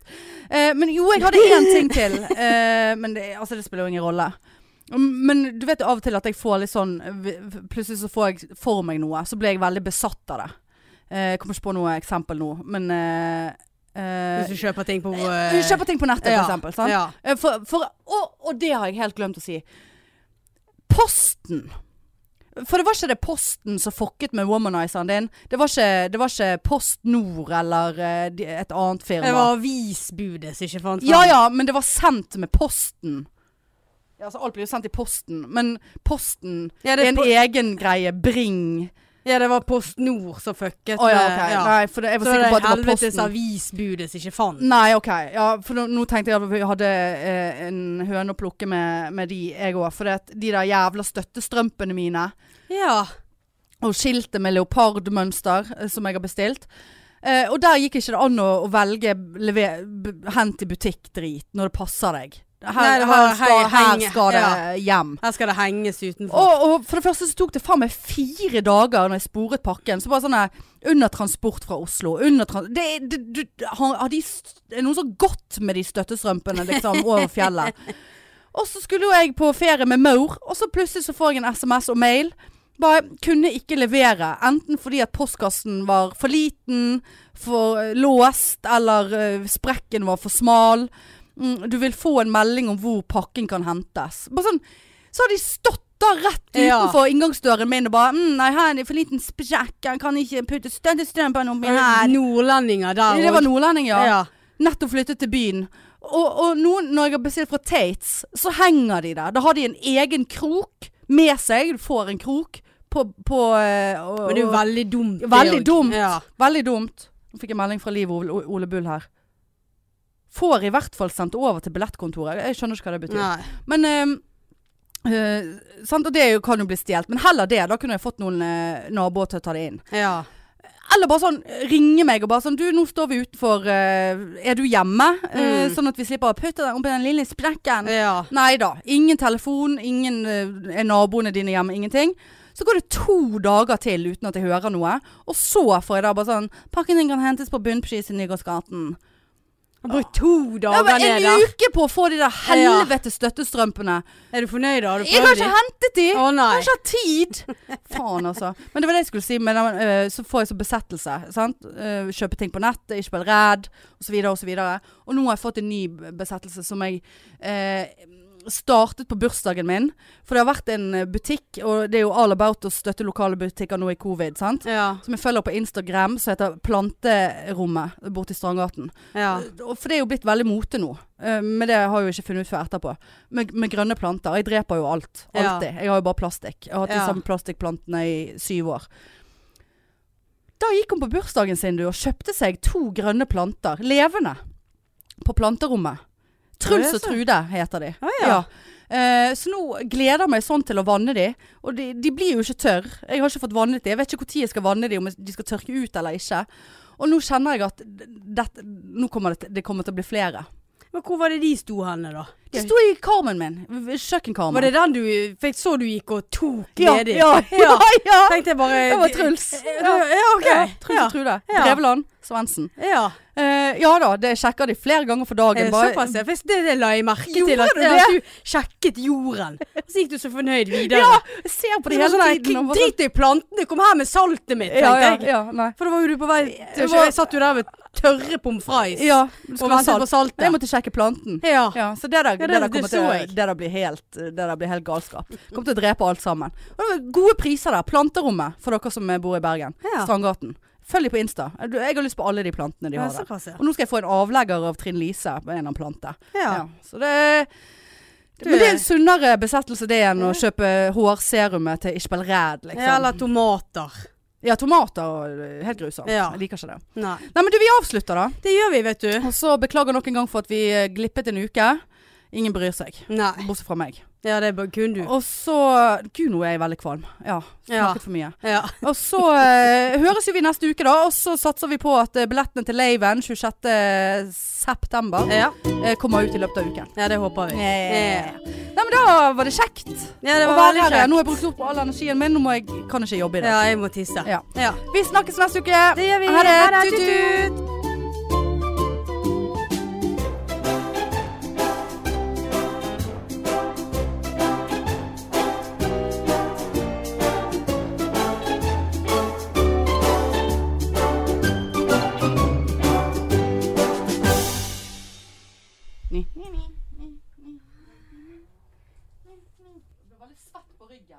Speaker 2: Eh, men jo, jeg hadde én ting til. Eh, men det, altså, det spiller jo ingen rolle. Mm, Men du vet av og til at jeg får litt sånn v- v- Plutselig så får jeg for meg noe. Så ble jeg veldig besatt av det. Eh, jeg kommer ikke på noe eksempel nå, men eh, eh,
Speaker 3: Hvis du kjøper ting på
Speaker 2: Du kjøper ting på nettet, for
Speaker 3: Ja,
Speaker 2: eksempel. Sant?
Speaker 3: Ja.
Speaker 2: Eh, For, for, og, og det har jeg helt glemt å si. Posten. For det var ikke det Posten som fucket med womanizeren din. Det var ikke, det var ikke Post Nord eller eh, de- et annet firma.
Speaker 3: Det var avisbudet som ikke fant
Speaker 2: Ja ja, men det var sendt med Posten. Ja, altså, alt blir jo sendt i Posten, men Posten
Speaker 3: Ja,
Speaker 2: er
Speaker 3: det,
Speaker 2: en e-
Speaker 3: po-
Speaker 2: egen greie. Bring.
Speaker 3: ja, det var Post Nord som fucket.
Speaker 2: Å ja,
Speaker 3: med-
Speaker 2: ok.
Speaker 3: eh, ja.
Speaker 2: Nei, for det, jeg
Speaker 3: Så
Speaker 2: var
Speaker 3: var
Speaker 2: sikker
Speaker 3: det
Speaker 2: på at det var
Speaker 3: helvetes
Speaker 2: Posten. Mm.
Speaker 3: avisbudet som ikke fant.
Speaker 2: Nei, ok. Ja, for nå, nå tenkte jeg at vi hadde eh, en høne å plukke med, med de jeg òg. For det at de der jævla støttestrømpene mine
Speaker 3: Ja.
Speaker 2: og skiltet med leopardmønster eh, som jeg har bestilt. Eh, og der gikk ikke det an å, å velge lever, b, hent i butikk-drit når det passer deg. Her,
Speaker 3: Nei, det
Speaker 2: her,
Speaker 3: var
Speaker 2: skal,
Speaker 3: hei-
Speaker 2: her
Speaker 3: henge.
Speaker 2: skal det hjem.
Speaker 3: Her skal det henges utenfor.
Speaker 2: Og, og for det første så tok det faen meg fire dager når jeg sporet pakken. Så bare sånn her, under transport fra Oslo. Under trans det, det, du, har, har de, s- er det noen som har gått med de støttestrømpene liksom over fjellet? Og så skulle jo jeg på ferie med Maur, og så plutselig så får jeg en SMS og mail. Bare kunne ikke levere. Enten fordi at postkassen var for liten, for eh, låst, eller eh, sprekken var for smal. Mm, du vil få en melding om hvor pakken kan hentes. Bare sånn, så har de stått da rett
Speaker 3: Ja.
Speaker 2: utenfor inngangsdøren min og bare mm, 'Nei, her er det for liten sprekk. Jeg kan ikke putte støttestrømpene oppi her.'
Speaker 3: Nordlendinger der
Speaker 2: Det var nordlending, ja.
Speaker 3: Ja.
Speaker 2: Nettopp flyttet til byen. Og, og nå når jeg har bestilt fra Tates, så henger de der. Da har de en egen krok med seg. Du får en krok på, på eh, og-
Speaker 3: Men det er jo veldig dumt. det
Speaker 2: Veldig
Speaker 3: òg.
Speaker 2: dumt.
Speaker 3: Ja.
Speaker 2: Veldig dumt. Nå fikk jeg melding fra Liv Ole, Ole Bull her. Får i hvert fall sendt over til billettkontoret. Jeg skjønner ikke hva det betyr.
Speaker 3: Nei.
Speaker 2: Men eh, eh, sant? Og det er jo, kan jo bli stjålet. Men heller det. Da kunne jeg fått noen uh, naboer til å ta det inn.
Speaker 3: Ja.
Speaker 2: Eller bare sånn ringe meg og bare sånn Du, nå står vi utenfor. eh, er du hjemme? Eh,
Speaker 3: Mm.
Speaker 2: sånn at vi slipper å putte deg oppi den lille sprekken.
Speaker 3: ja.
Speaker 2: Nei da. Ingen telefon, ingen eh, er naboene dine hjemme, ingenting. Så går det to dager til uten at jeg hører noe. Og så får jeg da bare sånn Pakken din kan hentes på Bunnpris i Nygårdsgaten.
Speaker 3: Jeg har brukt to
Speaker 2: Ja,
Speaker 3: dager
Speaker 2: men
Speaker 3: ned
Speaker 2: en
Speaker 3: der.
Speaker 2: uke på å få de der
Speaker 3: Ja.
Speaker 2: helvete støttestrømpene.
Speaker 3: Er du fornøyd, da? Har du
Speaker 2: Jeg har
Speaker 3: prøvd
Speaker 2: ikke
Speaker 3: dem?
Speaker 2: hentet de!
Speaker 3: Å nei.
Speaker 2: Jeg har ikke hatt tid! Faen, altså. Men det var det jeg skulle si. Men eh, så får jeg så besettelse. Sant? Eh, kjøpe ting på nettet, ikke være redd, osv. Og, så videre. og nå har jeg fått en ny besettelse som jeg eh, startet på bursdagen min. For det har vært en butikk, og det er jo all about å støtte lokale butikker nå i covid. Sant?
Speaker 3: Ja.
Speaker 2: Som jeg følger på Instagram, som heter Planterommet borte i Strandgaten.
Speaker 3: ja.
Speaker 2: Og For det er jo blitt veldig mote nå. Eh, Men det har jeg jo ikke funnet ut før etterpå. Med, med grønne planter. Jeg dreper jo alt.
Speaker 3: Ja.
Speaker 2: Alltid. Jeg har jo bare plastikk. Jeg har hatt
Speaker 3: Ja.
Speaker 2: de samme plastikkplantene i syv år. Da gikk hun på bursdagen sin du, og kjøpte seg to grønne planter. Levende. På planterommet. Truls
Speaker 3: Ja,
Speaker 2: og
Speaker 3: så.
Speaker 2: Trude heter de.
Speaker 3: ja.
Speaker 2: Eh, så nå gleder jeg meg sånn til å vanne de. Og de, de blir jo ikke tørr. Jeg har ikke fått vannet de. Jeg vet ikke når jeg skal vanne de, om de skal tørke ut eller ikke. Og nå kjenner jeg at dette, nå kommer det, til- det kommer til å bli flere.
Speaker 3: Men hvor var det de sto henne, da?
Speaker 2: Det sto i karmen min. v- Kjøkkenkarmen.
Speaker 3: Var det den du fikk så du gikk og tok
Speaker 2: ja,
Speaker 3: nedi?
Speaker 2: ja, ja,
Speaker 3: Ja. eh,
Speaker 2: ja.
Speaker 3: Tenkte jeg bare
Speaker 2: Det var Truls.
Speaker 3: Ja, eh, ja ok.
Speaker 2: Ja, Truls
Speaker 3: ja.
Speaker 2: og Trude.
Speaker 3: Ja.
Speaker 2: Drevland. Svendsen.
Speaker 3: Ja.
Speaker 2: Eh, ja da, det sjekker de flere ganger for
Speaker 3: Eh,
Speaker 2: dagen. Bare,
Speaker 3: Såpass, ja. For Det, det la jeg merke til.
Speaker 2: Gjorde
Speaker 3: At,
Speaker 2: du
Speaker 3: ja,
Speaker 2: det?
Speaker 3: at du sjekket jorden. Og så gikk du så fornøyd videre.
Speaker 2: Ja, jeg ser på
Speaker 3: For
Speaker 2: det
Speaker 3: det var
Speaker 2: hele
Speaker 3: sånn,
Speaker 2: tiden. og bare sånn-
Speaker 3: Drit i plantene, kom her med saltet mitt,
Speaker 2: ja, ja,
Speaker 3: tenkte jeg.
Speaker 2: ja, nei.
Speaker 3: For da var jo du på vei til
Speaker 2: Det
Speaker 3: å
Speaker 2: var-
Speaker 3: kjøpe. Jeg satt jo der med tørre pommes frites
Speaker 2: Ja, det
Speaker 3: og
Speaker 2: skulle være
Speaker 3: ventet
Speaker 2: salt.
Speaker 3: på saltet.
Speaker 2: Men Jeg måtte sjekke planten.
Speaker 3: Ja.
Speaker 2: Ja, så det der, det,
Speaker 3: det-
Speaker 2: der
Speaker 3: det
Speaker 2: kommer
Speaker 3: så
Speaker 2: til, å-
Speaker 3: jeg.
Speaker 2: det der blir helt, eh, det der blir helt galskap. Kommer til å drepe alt sammen. Og det var gode priser der. Planterommet for dere som eh, bor i Bergen.
Speaker 3: Ja.
Speaker 2: Strandgaten. Følg dem på Insta. Du, Jeg har lyst på alle de plantene de
Speaker 3: Ja,
Speaker 2: har der.
Speaker 3: såpass, ja.
Speaker 2: Og nå skal jeg få en avlegger av Trine Lise med en eller annen plante.
Speaker 3: ja.
Speaker 2: Ja, så det
Speaker 3: Du
Speaker 2: men det er
Speaker 3: er-
Speaker 2: en sunnere besettelse det enn å kjøpe hårserumet til Ishbel Ræd, liksom.
Speaker 3: Ja, eller tomater.
Speaker 2: Ja, tomater og eh, Helt grusomt.
Speaker 3: Ja.
Speaker 2: Jeg liker ikke det.
Speaker 3: Nei.
Speaker 2: Nei, men du, vi avslutter, da.
Speaker 3: Det gjør vi, vet du.
Speaker 2: Og så beklager nok en gang for at vi eh, glippet en uke. Ingen bryr seg.
Speaker 3: Nei.
Speaker 2: Bortsett fra meg.
Speaker 3: Ja, det er bare kun du.
Speaker 2: Og så Gud, nå er jeg veldig kvalm. Ja.
Speaker 3: Ja.
Speaker 2: Snakket for mye.
Speaker 3: Ja.
Speaker 2: Og så eh, høres jo vi neste uke, da. Og så satser vi på at eh, billettene til Laven 26.9.
Speaker 3: Ja.
Speaker 2: eh, kommer ut i løpet av uken.
Speaker 3: ja, det håper vi.
Speaker 2: Eh. Nei, men da var det kjekt
Speaker 3: Ja, det
Speaker 2: å være
Speaker 3: var veldig
Speaker 2: her. ja. Nå har
Speaker 3: kjekt.
Speaker 2: jeg brukt opp all energien min. Nå må jeg, kan jeg ikke jobbe i dag.
Speaker 3: Ja, jeg må tisse.
Speaker 2: Ja.
Speaker 3: ja.
Speaker 2: Vi snakkes neste uke.
Speaker 3: Det gjør vi.
Speaker 2: Ha det.
Speaker 3: Ha det.
Speaker 2: Tut, tut. Det var litt svett på ryggen.